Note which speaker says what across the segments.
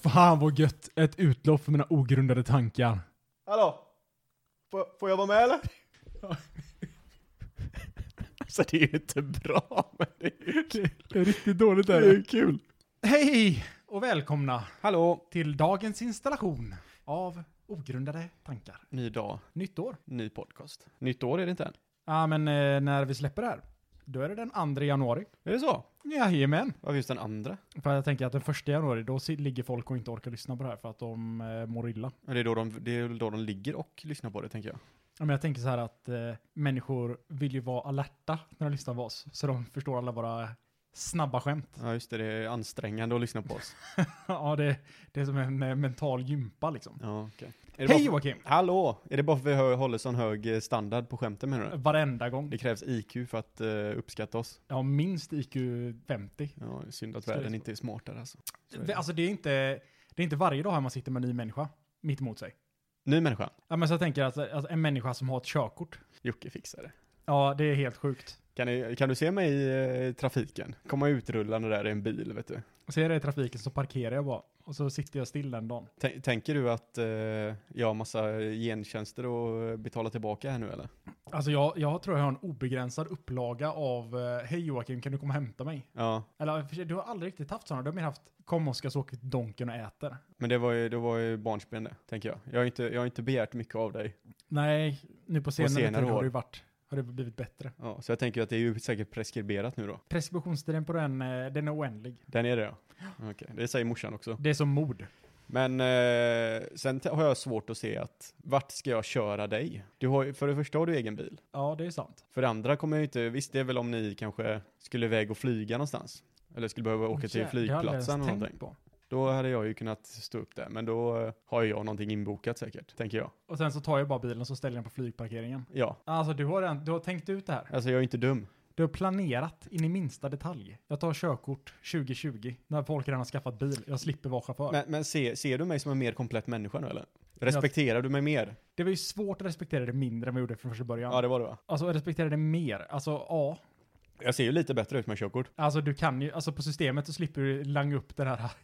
Speaker 1: Fan vad gött. Ett utlopp för mina ogrundade tankar.
Speaker 2: Hallå? Får, får jag vara med eller?
Speaker 3: Alltså det är ju inte bra, men det är ju kul.
Speaker 1: Det är riktigt dåligt
Speaker 3: Det är ju kul.
Speaker 1: Hej och välkomna
Speaker 3: Hallå!
Speaker 1: till dagens installation av ogrundade tankar.
Speaker 3: Ny dag,
Speaker 1: Nytt år.
Speaker 3: ny podcast. Nytt år är det inte än.
Speaker 1: Ja, men eh, när vi släpper det här, då är det den 2 januari.
Speaker 3: Är det så?
Speaker 1: Jajamän.
Speaker 3: Varför just den andra?
Speaker 1: För jag tänker att den 1 januari, då si- ligger folk och inte orkar lyssna på det här för att de eh, mår illa.
Speaker 3: Ja, Det är, då de, det är väl då de ligger och lyssnar på det, tänker jag.
Speaker 1: Ja, Men jag tänker så här att eh, människor vill ju vara alerta när de lyssnar på oss, så de förstår alla våra snabba skämt.
Speaker 3: Ja, just det. Det är ansträngande att lyssna på oss.
Speaker 1: ja, det, det är som en eh, mental gympa liksom.
Speaker 3: Ja, okej. Är det bara
Speaker 1: Hej
Speaker 3: för-
Speaker 1: Joakim!
Speaker 3: Hallå! Är det bara för att vi hö- håller sån hög eh, standard på skämten, menar du?
Speaker 1: Varenda gång.
Speaker 3: Det krävs IQ för att eh, uppskatta oss.
Speaker 1: Jag har minst IQ 50.
Speaker 3: Ja, synd att
Speaker 1: Ska det
Speaker 3: världen
Speaker 1: så?
Speaker 3: inte är smartare alltså. Så är
Speaker 1: Det,
Speaker 3: det.
Speaker 1: alltså det är, inte, det är inte varje dag här man sitter med en ny människa mitt emot sig.
Speaker 3: Ny människa.
Speaker 1: Ja, men så jag tänker att alltså, en människa som har ett körkort,
Speaker 3: Jocke fixar det.
Speaker 1: ja det är helt sjukt.
Speaker 3: Kan, ni, kan du se mig i eh, trafiken? Komma utrullande där i en bil, vet du.
Speaker 1: Ser jag det i trafiken så parkerar jag bara och så sitter jag still den dagen.
Speaker 3: Tän- Tänker du att eh, jag har massa gentjänster att eh, betala tillbaka här nu eller?
Speaker 1: Alltså jag, jag tror jag har en obegränsad upplaga av eh, Hej Joakim, kan du komma och hämta mig?
Speaker 3: Ja,
Speaker 1: Eller i och för sig, du har aldrig riktigt haft sådana. Du har mer haft Kom Oskar så åker vi till Donken och äter.
Speaker 3: men det var ju, det var ju barnsben det, tänker jag. Jag har, inte, jag har inte begärt mycket av dig.
Speaker 1: Nej, nu på senare,
Speaker 3: senare
Speaker 1: tid
Speaker 3: år.
Speaker 1: har det ju varit, har det blivit bättre.
Speaker 3: Ja, så jag tänker att det är ju säkert preskriberat nu då.
Speaker 1: Preskriptionstiden på den, eh, den är oändlig.
Speaker 3: Den är det ja. Okej, det säger morsan också.
Speaker 1: Det är som mord.
Speaker 3: Men eh, sen t- har jag svårt att se att vart ska jag köra dig? Du har, ju- för det första har du egen bil.
Speaker 1: Ja, det är sant.
Speaker 3: För det andra kommer jag ju inte, visst det är väl om ni kanske skulle iväg och flyga någonstans? Eller skulle behöva åka till
Speaker 1: Jävlar, det har jag aldrig ens
Speaker 3: flygplatsen eller
Speaker 1: tänkt
Speaker 3: någonting.
Speaker 1: på.
Speaker 3: Då hade jag ju kunnat stå upp där, men då eh, har ju jag någonting inbokat säkert, tänker jag.
Speaker 1: Och sen så tar jag bara bilen och så ställer jag den på flygparkeringen.
Speaker 3: Ja,
Speaker 1: Alltså du har, redan, du har tänkt ut det här.
Speaker 3: alltså jag är ju inte dum.
Speaker 1: Du har planerat in i minsta detalj. Jag tar körkort 2020 när folk redan har skaffat bil. Jag slipper vara chaufför.
Speaker 3: Men, men se, ser du mig som en mer komplett människa nu eller? Respekterar du mig mer?
Speaker 1: Det var ju svårt att respektera det mindre än vad jag gjorde från första början.
Speaker 3: Ja, det var det va?
Speaker 1: Alltså jag respekterar det mer. Alltså ja.
Speaker 3: Jag ser ju lite bättre ut med körkort.
Speaker 1: Alltså du kan ju, alltså på systemet så slipper du langa upp det här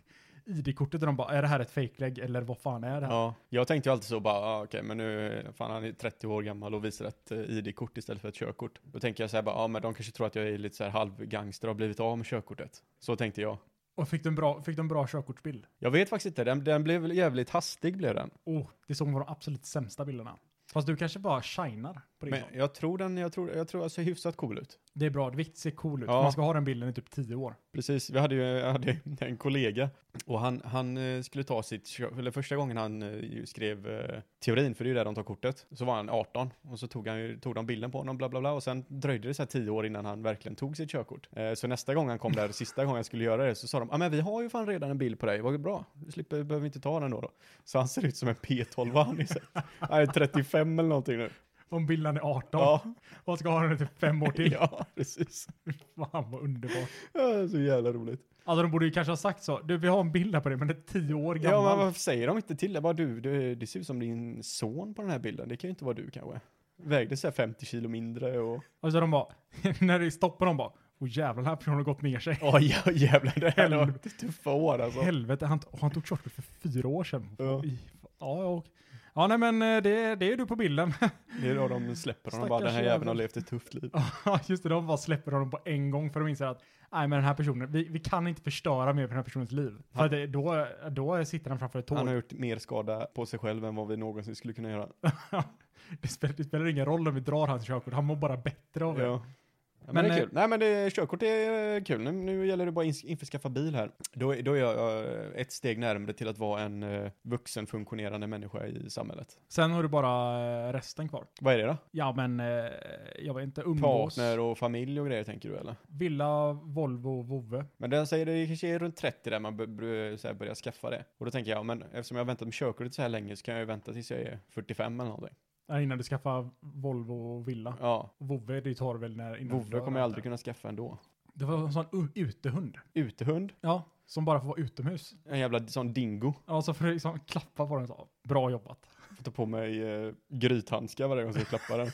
Speaker 1: ID-kortet och de bara är det här ett fejklägg eller vad fan är det här?
Speaker 3: Ja, jag tänkte ju alltid så bara, ah, okej, men nu, fan han är 30 år gammal och visar ett eh, ID-kort istället för ett körkort. Då tänker jag så här bara, ja ah, men de kanske tror att jag är lite så här halvgangster och har blivit av med körkortet. Så tänkte jag.
Speaker 1: Och fick du en bra, fick du en bra körkortsbild?
Speaker 3: Jag vet faktiskt inte, den, den blev jävligt hastig blev den.
Speaker 1: Oh, det såg var de absolut sämsta bilderna. Fast du kanske bara shinar på din
Speaker 3: Men
Speaker 1: sån.
Speaker 3: jag tror den, jag tror, jag tror jag ser hyfsat cool ut.
Speaker 1: Det är bra, det är viktigt att se cool ut.
Speaker 3: Ja.
Speaker 1: Man ska ha den bilden i typ 10 år.
Speaker 3: Precis, vi hade ju jag hade en kollega och han, han eh, skulle ta sitt, kö- eller första gången han eh, ju skrev eh, teorin, för det är ju där de tar kortet, så var han 18 och så tog, han, ju- tog de bilden på honom bla bla bla och sen dröjde det så här 10 år innan han verkligen tog sitt körkort. Eh, Så nästa gång han kom där, sista gången jag skulle göra det, så sa de ah, men vi har ju fan redan en bild på dig, vad bra, du slipper, behöver inte ta den då. då. Så han ser ut som en P12, han är, så- han är 35 eller någonting nu.
Speaker 1: Om bilden är 18
Speaker 3: Ja,
Speaker 1: och ska ha den i typ 5 år till.
Speaker 3: ja precis.
Speaker 1: Fan vad underbart.
Speaker 3: Ja, Så jävla roligt.
Speaker 1: Alltså de borde ju kanske ha sagt så. Du, vi har en bild här på dig men den är 10 år gammal.
Speaker 3: Ja, men varför säger de inte till det? Bara du, det, det ser ut som din son på den här bilden. Det kan ju inte vara du kanske. Vägde så här 50 kilo mindre och...
Speaker 1: Och så de bara, när det stoppar de bara, åh jävlar den här personen har gått ner sig.
Speaker 3: Ja, jä- jävlar. Det här har varit tuffa år alltså.
Speaker 1: Helvete, han, och han tog körkort för fyra år sedan.
Speaker 3: Ja.
Speaker 1: I- Ja, och, ja nej men eh, det, det är du på bilden.
Speaker 3: Det är då de släpper honom bara.
Speaker 1: Stackars
Speaker 3: Den här jäveln
Speaker 1: jävel.
Speaker 3: har levt ett tufft liv.
Speaker 1: Ja, Just det, de bara släpper honom på en gång för de inser att nej men den här personen, vi, vi kan inte förstöra mer på den här personens liv. För att det, då, då sitter han framför ett
Speaker 3: Han har
Speaker 1: tåg.
Speaker 3: gjort mer skada på sig själv än vad vi någonsin skulle kunna göra.
Speaker 1: Det spelar, det spelar ingen roll om vi drar hans körkort, han mår bara bättre av det.
Speaker 3: Ja. Men,
Speaker 1: Men,
Speaker 3: det
Speaker 1: eh,
Speaker 3: är kul. Nej men det, körkort är eh, kul. Nu, nu gäller det bara att ins- införskaffa bil här. Då, är- då är jag eh, ett steg närmare till att vara en eh, vuxenfunktionerande människa i samhället.
Speaker 1: Sen har du bara eh, resten kvar.
Speaker 3: Vad är det då?
Speaker 1: Ja men, eh, jag vet inte, umgås,
Speaker 3: Partner och familj och grejer tänker du eller?
Speaker 1: villa, Volvo, vovve.
Speaker 3: Men den säger det kanske är runt 30 där man b- b- så här börjar skaffa det. Och då tänker jag, men eftersom jag har väntat med körkortet så här länge så kan jag ju vänta tills jag är 45 eller någonting.
Speaker 1: Nej, Innan du skaffar Volvo och villa.
Speaker 3: Ja,
Speaker 1: Vovve, det tar du väl när... innan du
Speaker 3: vovve
Speaker 1: dör,
Speaker 3: kommer
Speaker 1: antar
Speaker 3: jag aldrig kunna skaffa ändå.
Speaker 1: Det var en sån u- utehund.
Speaker 3: Utehund,
Speaker 1: Ja, som bara får vara utomhus.
Speaker 3: en jävla sån dingo.
Speaker 1: Ja, så får du liksom klappa på den och så. Bra jobbat.
Speaker 3: Får ta på mig eh, grythandskar varje gång jag ska klappa den.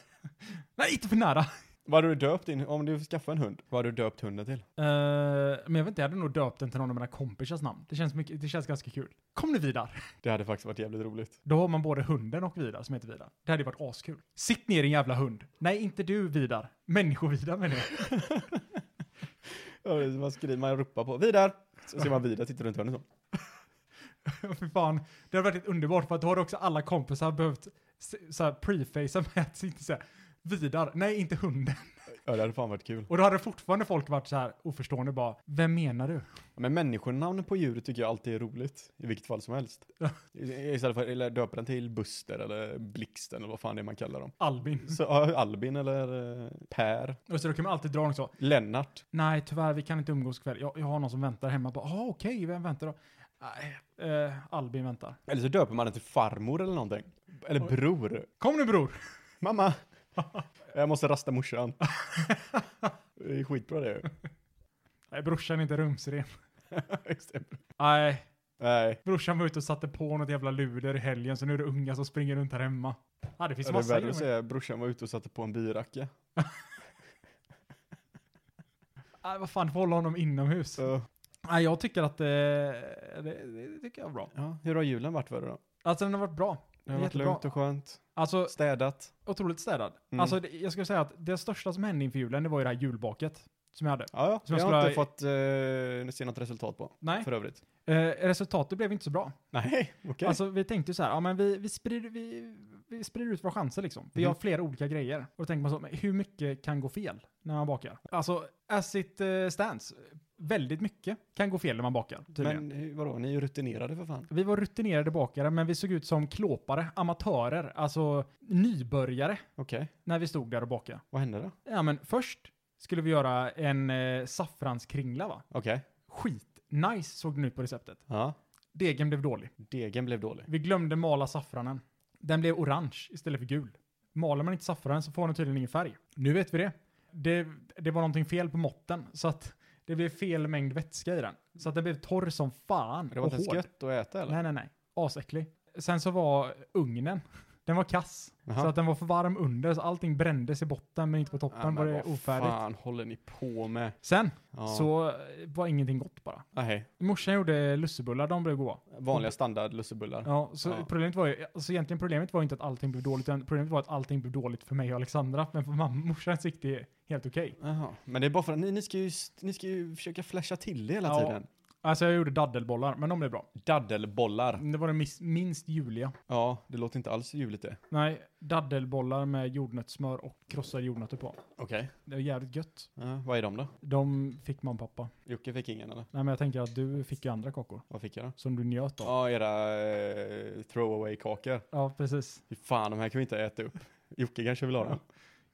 Speaker 1: Nej, inte för nära.
Speaker 3: Vad hade du döpt din, om du skaffade en hund, vad hade du döpt hunden till?
Speaker 1: Eh, men jag vet inte, jag hade nog döpt den till någon av mina kompisars namn. Det känns, mycket, det känns ganska kul. Kom nu Vidar!
Speaker 3: Det hade faktiskt varit jävligt roligt.
Speaker 1: Då har man både hunden och Vidar som heter Vidar. Det hade ju varit askul. Sitt ner din jävla hund! Nej, inte du Vidar. Människo-Vidar menar jag.
Speaker 3: Ja, det- Man skriver, man ropar på Vidar! Så ser man Vidar sitta runt hörnet så.
Speaker 1: Fy fan, det hade varit ett underbart för att då hade också alla kompisar behövt se- så här prefacea med att inte säga Vidar, nej inte hunden.
Speaker 3: Ja, det hade fan varit kul.
Speaker 1: Och då hade fortfarande folk varit så här oförstående bara, vem menar du?
Speaker 3: Men människonamn på djur tycker jag alltid är roligt. I vilket fall som helst. I- Istället för att döpa den till Buster eller Blixten eller vad fan det är man kallar dem.
Speaker 1: Albin.
Speaker 3: Så ja, Albin eller eh, Per.
Speaker 1: Och så då kan man alltid dra någon så,
Speaker 3: Lennart.
Speaker 1: nej tyvärr vi kan inte umgås ikväll, jag, jag har någon som väntar hemma. Bara, ah, okej, vem väntar då? Nej, eh, Albin väntar.
Speaker 3: Eller så döper man den till farmor eller någonting. Eller
Speaker 1: Oj.
Speaker 3: bror.
Speaker 1: Kom nu bror!
Speaker 3: Mamma! Jag måste rasta morsan. Det är skitbra det ju.
Speaker 1: Nej, brorsan är inte rumsren.
Speaker 3: Just det.
Speaker 1: Nej,
Speaker 3: Nej.
Speaker 1: brorsan var ute och satte på något jävla luder i helgen, så nu är det unga som springer runt här hemma. Ja, det finns
Speaker 3: Det är
Speaker 1: massa
Speaker 3: värre att
Speaker 1: grejer.
Speaker 3: säga brorsan var ute och satte på en biracka.
Speaker 1: Nej, vad fan, får hålla honom inomhus.
Speaker 3: Så,
Speaker 1: Nej, jag tycker att eh, det, det tycker jag är bra.
Speaker 3: ja, hur har julen varit för dig då?
Speaker 1: Alltså den har varit bra.
Speaker 3: Det har
Speaker 1: Det är
Speaker 3: varit
Speaker 1: jättebra.
Speaker 3: lugnt och skönt.
Speaker 1: Alltså
Speaker 3: Städat.
Speaker 1: otroligt städad.
Speaker 3: Mm.
Speaker 1: Alltså det- jag skulle säga att det största som hände inför julen, det var ju det här julbaket som jag hade.
Speaker 3: Ja, ja.
Speaker 1: Som
Speaker 3: jag
Speaker 1: jag
Speaker 3: har inte
Speaker 1: skulle
Speaker 3: fått eh, se något resultat på.
Speaker 1: Nej,
Speaker 3: För övrigt.
Speaker 1: eh, resultatet blev inte så bra.
Speaker 3: Nej, okej.
Speaker 1: Alltså vi tänkte ju så här, ja men vi, vi, sprider, vi, vi sprider ut våra chanser liksom. Vi
Speaker 3: Mhm.
Speaker 1: har flera olika grejer. Och då tänker man så, men hur mycket kan gå fel när man bakar? Alltså, as it eh, stands, väldigt mycket kan gå fel när man bakar. Tydligen.
Speaker 3: men eh, vadå, ni är ju rutinerade för fan.
Speaker 1: Vi var rutinerade bakare, men vi såg ut som klåpare, amatörer, alltså nybörjare
Speaker 3: Okej,
Speaker 1: när vi stod där och bakade.
Speaker 3: vad hände då?
Speaker 1: Ja, men först skulle vi göra en eh, saffranskringla, va?
Speaker 3: Okej,
Speaker 1: Skitnice såg den ut på receptet.
Speaker 3: ja.
Speaker 1: Degen blev dålig.
Speaker 3: Degen blev dålig.
Speaker 1: Vi glömde mala saffranen. Den blev orange istället för gul. Maler man inte saffranen så får den tydligen ingen färg. Nu vet vi det. Det, det var någonting fel på måtten, så att det blev fel mängd vätska i den. Så att den blev torr som fan
Speaker 3: Det var inte
Speaker 1: och
Speaker 3: ens
Speaker 1: hård.
Speaker 3: gött att äta eller?
Speaker 1: Nej, nej, nej. Asäcklig. Sen så var ugnen, den var kass.
Speaker 3: Jaha.
Speaker 1: Så att den var för varm under, så allting brändes i botten men inte på toppen.
Speaker 3: Ja, men
Speaker 1: var det
Speaker 3: vad
Speaker 1: ofärdigt.
Speaker 3: fan håller ni på med?
Speaker 1: Sen
Speaker 3: Ja.
Speaker 1: så eh, var ingenting gott bara.
Speaker 3: Ah, hej.
Speaker 1: Morsan gjorde lussebullar, de blev goda.
Speaker 3: Vanliga standard lussebullar.
Speaker 1: Ja, så
Speaker 3: Ja.
Speaker 1: problemet var ju, alltså egentligen problemet var inte att allting blev dåligt, utan problemet var att allting blev dåligt för mig och Alexandra, men för mamma, morsans gick det helt okej.
Speaker 3: Jaha, men det är bara för att ni, ni, ska, ju, st- ni ska ju försöka flasha till det hela
Speaker 1: Ja.
Speaker 3: tiden.
Speaker 1: Alltså jag gjorde daddelbollar, men de blev bra.
Speaker 3: Daddelbollar.
Speaker 1: Det var det mis- minst juliga.
Speaker 3: Ja, det låter inte alls ljuvligt det.
Speaker 1: Nej, daddelbollar med jordnötssmör och krossade jordnötter på.
Speaker 3: Okej.
Speaker 1: Det var jävligt gött.
Speaker 3: Ja, vad är de då?
Speaker 1: De fick man pappa.
Speaker 3: Jocke fick ingen eller?
Speaker 1: Nej men jag tänker att du fick ju andra kakor
Speaker 3: Vad fick jag då?
Speaker 1: som du njöt av. Ja,
Speaker 3: Ja, era eh, throwaway-kakor.
Speaker 1: precis.
Speaker 3: Fy fan, de här kan vi inte äta upp. Jocke kanske vill ha dem.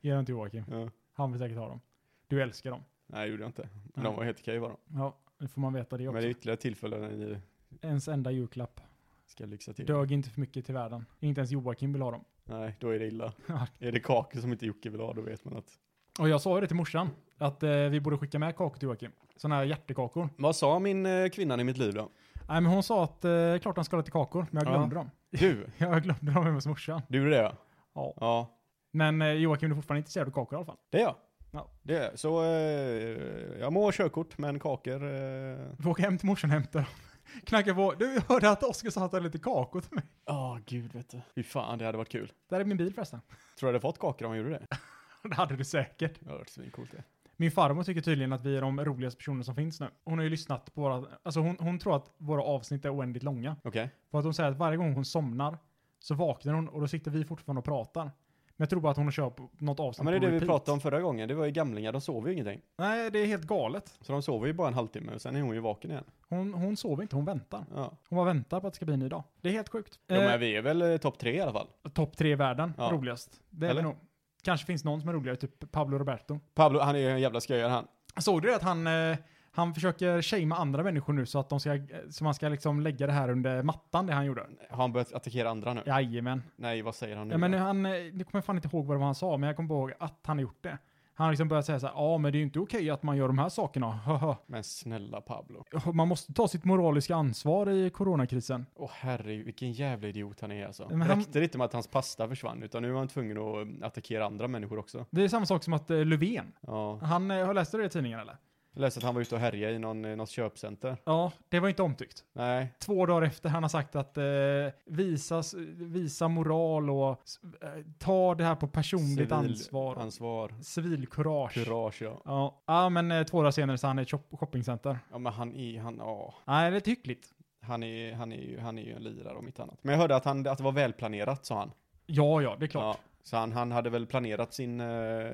Speaker 1: Ge dem till Joakim.
Speaker 3: Ja.
Speaker 1: Han vill säkert ha dem. Du älskar dem.
Speaker 3: Nej, det gjorde jag inte. Men
Speaker 1: Nej.
Speaker 3: de var helt okej var de.
Speaker 1: Ja, nu får man veta det
Speaker 3: Men
Speaker 1: också.
Speaker 3: det är ytterligare tillfällen när ni
Speaker 1: Ens enda julklapp.
Speaker 3: ska lyxa till.
Speaker 1: Dög inte för mycket till världen. Inte ens Joakim vill ha dem.
Speaker 3: Nej, då är det illa.
Speaker 1: Ja.
Speaker 3: är det kakor som inte Jocke vill ha, då vet man att...
Speaker 1: Och jag sa ju det till morsan, att eh, vi borde skicka med kakor till Joakim. Sådana här hjärtekakor.
Speaker 3: Vad sa min eh, kvinnan i mitt liv då?
Speaker 1: Nej men hon sa att eh, klart han ska ha lite kakor, men jag
Speaker 3: Ja.
Speaker 1: glömde dem.
Speaker 3: Du,
Speaker 1: Jag glömde dem hemma hos morsan.
Speaker 3: du gjorde det ja.
Speaker 1: Ja.
Speaker 3: Ja,
Speaker 1: Men eh, Joakim du är fortfarande intresserad av kakor i alla fall.
Speaker 3: Det är jag.
Speaker 1: Ja.
Speaker 3: Det är jag. Så eh, jag må ha körkort, men kakor... Eh...
Speaker 1: Vi får åka hem till morsan och hämta dem. Knacka på. Du jag hörde att Oskar sa att han hade lite kakor till mig.
Speaker 3: Ja, gud vet du. Fy fan, det hade varit kul.
Speaker 1: Där är min bil förresten.
Speaker 3: Tror du jag hade fått kakor om jag gjorde det?
Speaker 1: Det hade du säkert.
Speaker 3: Det hade varit svincoolt det.
Speaker 1: Min farmor tycker tydligen att vi är de roligaste personerna som finns nu. Hon har ju lyssnat på våra, alltså hon, hon tror att våra avsnitt är oändligt långa.
Speaker 3: Okej.
Speaker 1: För att hon säger att varje gång hon somnar så vaknar hon och då sitter vi fortfarande och pratar. Men jag tror bara att hon har kört på något
Speaker 3: Ja,
Speaker 1: avsnitt
Speaker 3: men det är
Speaker 1: på
Speaker 3: det vi
Speaker 1: repeat.
Speaker 3: pratade om förra gången. Det var ju gamlingar, de sover ju ingenting.
Speaker 1: Nej, det är helt galet.
Speaker 3: Så de sover ju bara en halvtimme och sen är hon ju vaken igen.
Speaker 1: Hon, hon sover inte, hon väntar.
Speaker 3: Ja.
Speaker 1: Hon bara väntar på att det ska bli en ny dag. Det är helt sjukt.
Speaker 3: Jo, men vi är väl eh, topp tre i alla fall.
Speaker 1: eh, Topp tre i världen,
Speaker 3: Ja.
Speaker 1: roligast. Det är
Speaker 3: Eller?
Speaker 1: det nog. Kanske finns någon som är roligare, typ Pablo Roberto.
Speaker 3: Pablo, han är ju en jävla sköjare han.
Speaker 1: Såg du det att han, eh, han försöker shamea andra människor nu så att de ska, eh, så man ska liksom lägga det här under mattan, det han gjorde?
Speaker 3: Har han börjat attackera andra nu?
Speaker 1: Jajamän.
Speaker 3: Nej, vad säger han nu?
Speaker 1: Ja, men
Speaker 3: då?
Speaker 1: han, eh, nu kommer jag fan inte ihåg vad det var han sa, men jag kommer ihåg att han har gjort det. Han har liksom börjat säga så här, ja men det är ju inte okej att man gör de här sakerna, haha.
Speaker 3: Men snälla Pablo.
Speaker 1: Man måste ta sitt moraliska ansvar i coronakrisen.
Speaker 3: Åh herregud, vilken jävla idiot han är alltså.
Speaker 1: Men han-
Speaker 3: Räckte det inte med att hans pasta försvann, utan nu är han tvungen att eh, attackera andra människor också.
Speaker 1: Det är samma sak som att eh, Löfven,
Speaker 3: Ja.
Speaker 1: han, eh, har läst det i tidningen eller?
Speaker 3: Jag läste att han var ute och härjade i någon, eh, något köpcenter.
Speaker 1: Ja, det var inte omtyckt.
Speaker 3: Nej,
Speaker 1: Två dagar efter han har sagt att eh, visa, visa moral och eh, ta det här på personligt
Speaker 3: Civil-
Speaker 1: ansvar.
Speaker 3: ansvar.
Speaker 1: Civilkurage.
Speaker 3: Kurage ja.
Speaker 1: Ja. ja, men eh, två dagar senare så är han i ett shop- shoppingcenter.
Speaker 3: Ja men han är, han, ja.
Speaker 1: Nej, det är hyckligt.
Speaker 3: Han är, han är ju, han är ju en lirare om inte annat. Men jag hörde att, han, att det var välplanerat sa han.
Speaker 1: Ja, ja, det är klart.
Speaker 3: Ja, så han, han hade väl planerat sin uh,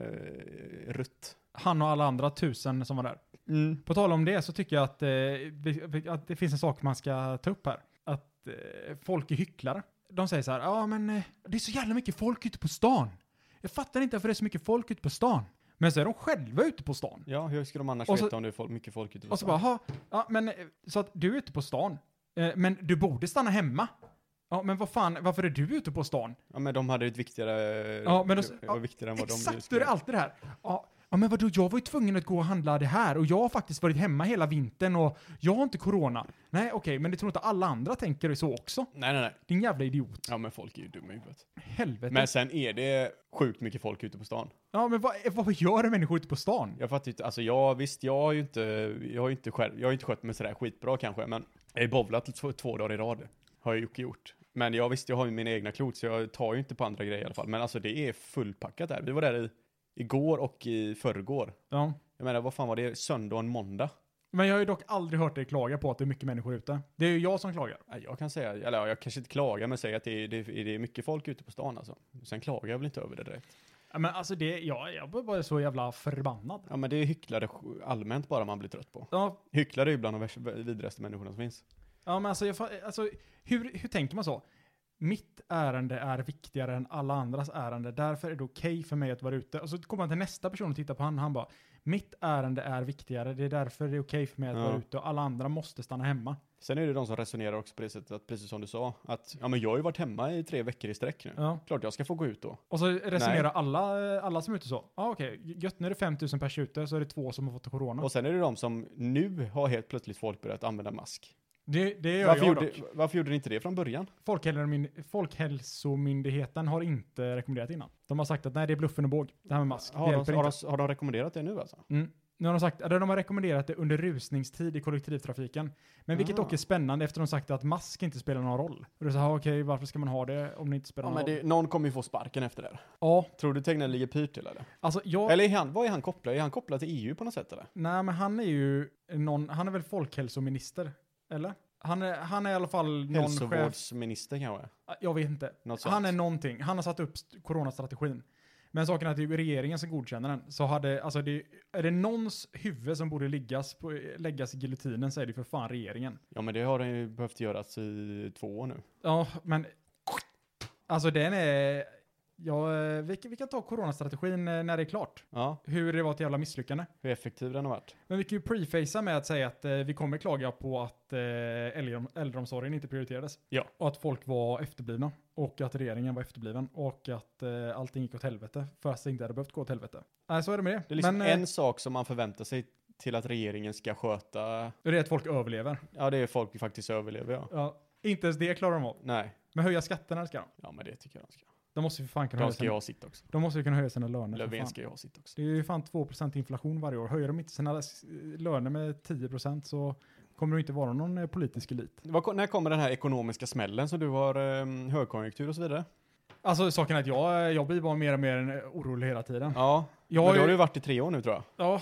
Speaker 3: rutt.
Speaker 1: Han och alla andra tusen som var där. På tal om det så tycker jag att, eh, vi- att det finns en sak man ska ta upp här. Att eh, folk är hycklare. De säger så här, ja men eh, det är så jävla mycket folk ute på stan. Jag fattar inte varför det är så mycket folk ute på stan. Men så är de själva ute på stan.
Speaker 3: Ja, hur ska de annars
Speaker 1: Och så-
Speaker 3: veta om det är folk, mycket folk ute på
Speaker 1: Och så
Speaker 3: stan?
Speaker 1: bara, "Ha, ja men eh, så att du är ute på stan. Eh, Men du borde stanna hemma. Ja men vad fan, varför är du ute på stan?
Speaker 3: Ja men de hade ju ett viktigare... eh,
Speaker 1: Ja, men då-
Speaker 3: det var viktigare än vad de
Speaker 1: Exakt, då
Speaker 3: skulle-
Speaker 1: är det alltid det här. Ja, ja men vadå, jag var ju tvungen att gå och handla det här och jag har faktiskt varit hemma hela vintern och jag har inte corona. Nej okej, men det tror inte alla andra tänker så också.
Speaker 3: Nej nej nej.
Speaker 1: Din jävla idiot.
Speaker 3: Ja men folk är ju dumma i huvudet.
Speaker 1: Helvete.
Speaker 3: Men sen är det sjukt mycket folk ute på stan.
Speaker 1: ja men vad, vad gör människor ute på stan?
Speaker 3: Jag fattar inte, alltså jag visst jag har ju inte, jag har ju inte själv, jag har ju inte skött mig sådär skitbra kanske men jag har ju bowlat två, två dagar i rad. Har jag ju inte gjort. Men jag visst jag har ju mina egna klot så jag tar ju inte på andra grejer i alla fall. Men alltså det är fullpackat där. Vi var där i, igår och i förrgår.
Speaker 1: Ja.
Speaker 3: Jag menar vad fan var det? Söndag och en måndag?
Speaker 1: Men jag har ju dock aldrig hört dig klaga på att det är mycket människor ute. Det är ju jag som klagar.
Speaker 3: Nej, Jag kan säga, eller ja, jag kanske inte klagar men säger att det är, det, är, det är mycket folk ute på stan alltså. Sen klagar jag väl inte över det direkt.
Speaker 1: Ja, men alltså det, ja, jag blir bara så jävla förbannad.
Speaker 3: Ja men det är hycklare allmänt bara man blir trött på.
Speaker 1: Ja,
Speaker 3: Hycklare är ju bland de värsta- vidrigaste människorna som finns.
Speaker 1: ja men alltså, jag, fa- alltså hur, hur tänker man så? Mitt ärende är viktigare än alla andras ärende, därför är det okej för mig att vara ute. Och så kommer man till nästa person och tittar på han, han bara, mitt ärende är viktigare, det är därför det är okej för mig att
Speaker 3: Ja.
Speaker 1: vara ute och alla andra måste stanna hemma.
Speaker 3: Sen är det de som resonerar också på det sättet att precis som du sa att ja men jag har ju varit hemma i tre veckor i sträck nu.
Speaker 1: Ja.
Speaker 3: Klart jag ska få gå ut då.
Speaker 1: Och så resonerar alla, eh, alla som är ute så. Ja ah, okej, gött nu är det 5000 pers ute så är det två som har fått corona.
Speaker 3: Och sen är det de som nu har helt plötsligt folk börjat använda mask.
Speaker 1: det, det gör
Speaker 3: Varför
Speaker 1: jag
Speaker 3: gjorde,
Speaker 1: dock.
Speaker 3: varför gjorde ni inte det från början?
Speaker 1: Folkhälsomin- Folkhälsomyndigheten har inte rekommenderat innan. De har sagt att nej det är bluffen och båg, det här med mask. det
Speaker 3: Har
Speaker 1: hjälper
Speaker 3: de, har,
Speaker 1: inte.
Speaker 3: de, har de rekommenderat det nu alltså?
Speaker 1: Mm. Nu har de sagt, eller de har rekommenderat det under rusningstid i kollektivtrafiken. Men vilket
Speaker 3: Ah.
Speaker 1: dock är spännande efter de sagt att mask inte spelar någon roll. Och det är så här, okej, varför ska man ha det om det inte spelar
Speaker 3: Ja,
Speaker 1: någon
Speaker 3: men
Speaker 1: roll?
Speaker 3: det, någon kommer ju få sparken efter det. här.
Speaker 1: Ja,
Speaker 3: Tror du Tegnell ligger pyrt till eller?
Speaker 1: alltså jag...
Speaker 3: Eller är han, vad är han kopplad? Är han kopplad till EU på något sätt eller?
Speaker 1: Nej, men han är ju någon, han är väl folkhälsominister? Eller? Han är, han är i alla fall någon chef.
Speaker 3: Hälsovårdsminister kanske?
Speaker 1: Jag vet inte.
Speaker 3: Något sånt.
Speaker 1: Han är någonting. Han har satt upp st- coronastrategin. Men saken är att det är ju regeringen som godkänner den. Så hade, alltså det, är det någons huvud som borde liggas på, läggas i giljotinen så är det ju för fan regeringen.
Speaker 3: Ja men det har den ju behövt göras i två år nu.
Speaker 1: Ja, men... Alltså den är... Ja, eh, vi, kan- vi kan ta coronastrategin eh, när det är klart.
Speaker 3: Ja,
Speaker 1: Hur det var ett jävla misslyckande.
Speaker 3: hur effektiv den har varit.
Speaker 1: Men vi kan ju prefacea med att säga att eh, vi kommer klaga på att eh, äldre, äldreomsorgen inte prioriterades.
Speaker 3: Ja.
Speaker 1: Och att folk var efterblivna. Och att regeringen var efterbliven. Och att eh, allting gick åt helvete. Fast det inte hade behövt gå åt helvete. Nej, så är det med det.
Speaker 3: Det är liksom
Speaker 1: Men eh,
Speaker 3: en sak som man förväntar sig till att regeringen ska sköta.
Speaker 1: det är att folk överlever.
Speaker 3: Ja, det är folk faktiskt överlever, ja.
Speaker 1: Ja. Inte ens det klarar de av.
Speaker 3: Nej.
Speaker 1: Men höja skatterna ska de.
Speaker 3: Ja, men det tycker jag de ska.
Speaker 1: De måste ju för fan kunna
Speaker 3: De
Speaker 1: höja
Speaker 3: ska
Speaker 1: sina,
Speaker 3: ju ha sitt också.
Speaker 1: de måste ju kunna höja sina löner. för
Speaker 3: Löfven
Speaker 1: fan.
Speaker 3: ska ju ha sitt också.
Speaker 1: Det är ju fan 2% inflation varje år. Höjer de inte sina s- löner med 10% så kommer det inte vara någon eh, politisk elit.
Speaker 3: Vad ko- när kommer den här ekonomiska smällen som du har ehm, högkonjunktur och så vidare?
Speaker 1: Alltså saken är att jag, jag blir bara mer och mer eh, orolig hela tiden.
Speaker 3: Ja,
Speaker 1: Jag
Speaker 3: men
Speaker 1: har
Speaker 3: då har
Speaker 1: ju-
Speaker 3: du varit i tre år nu tror jag.
Speaker 1: Ja,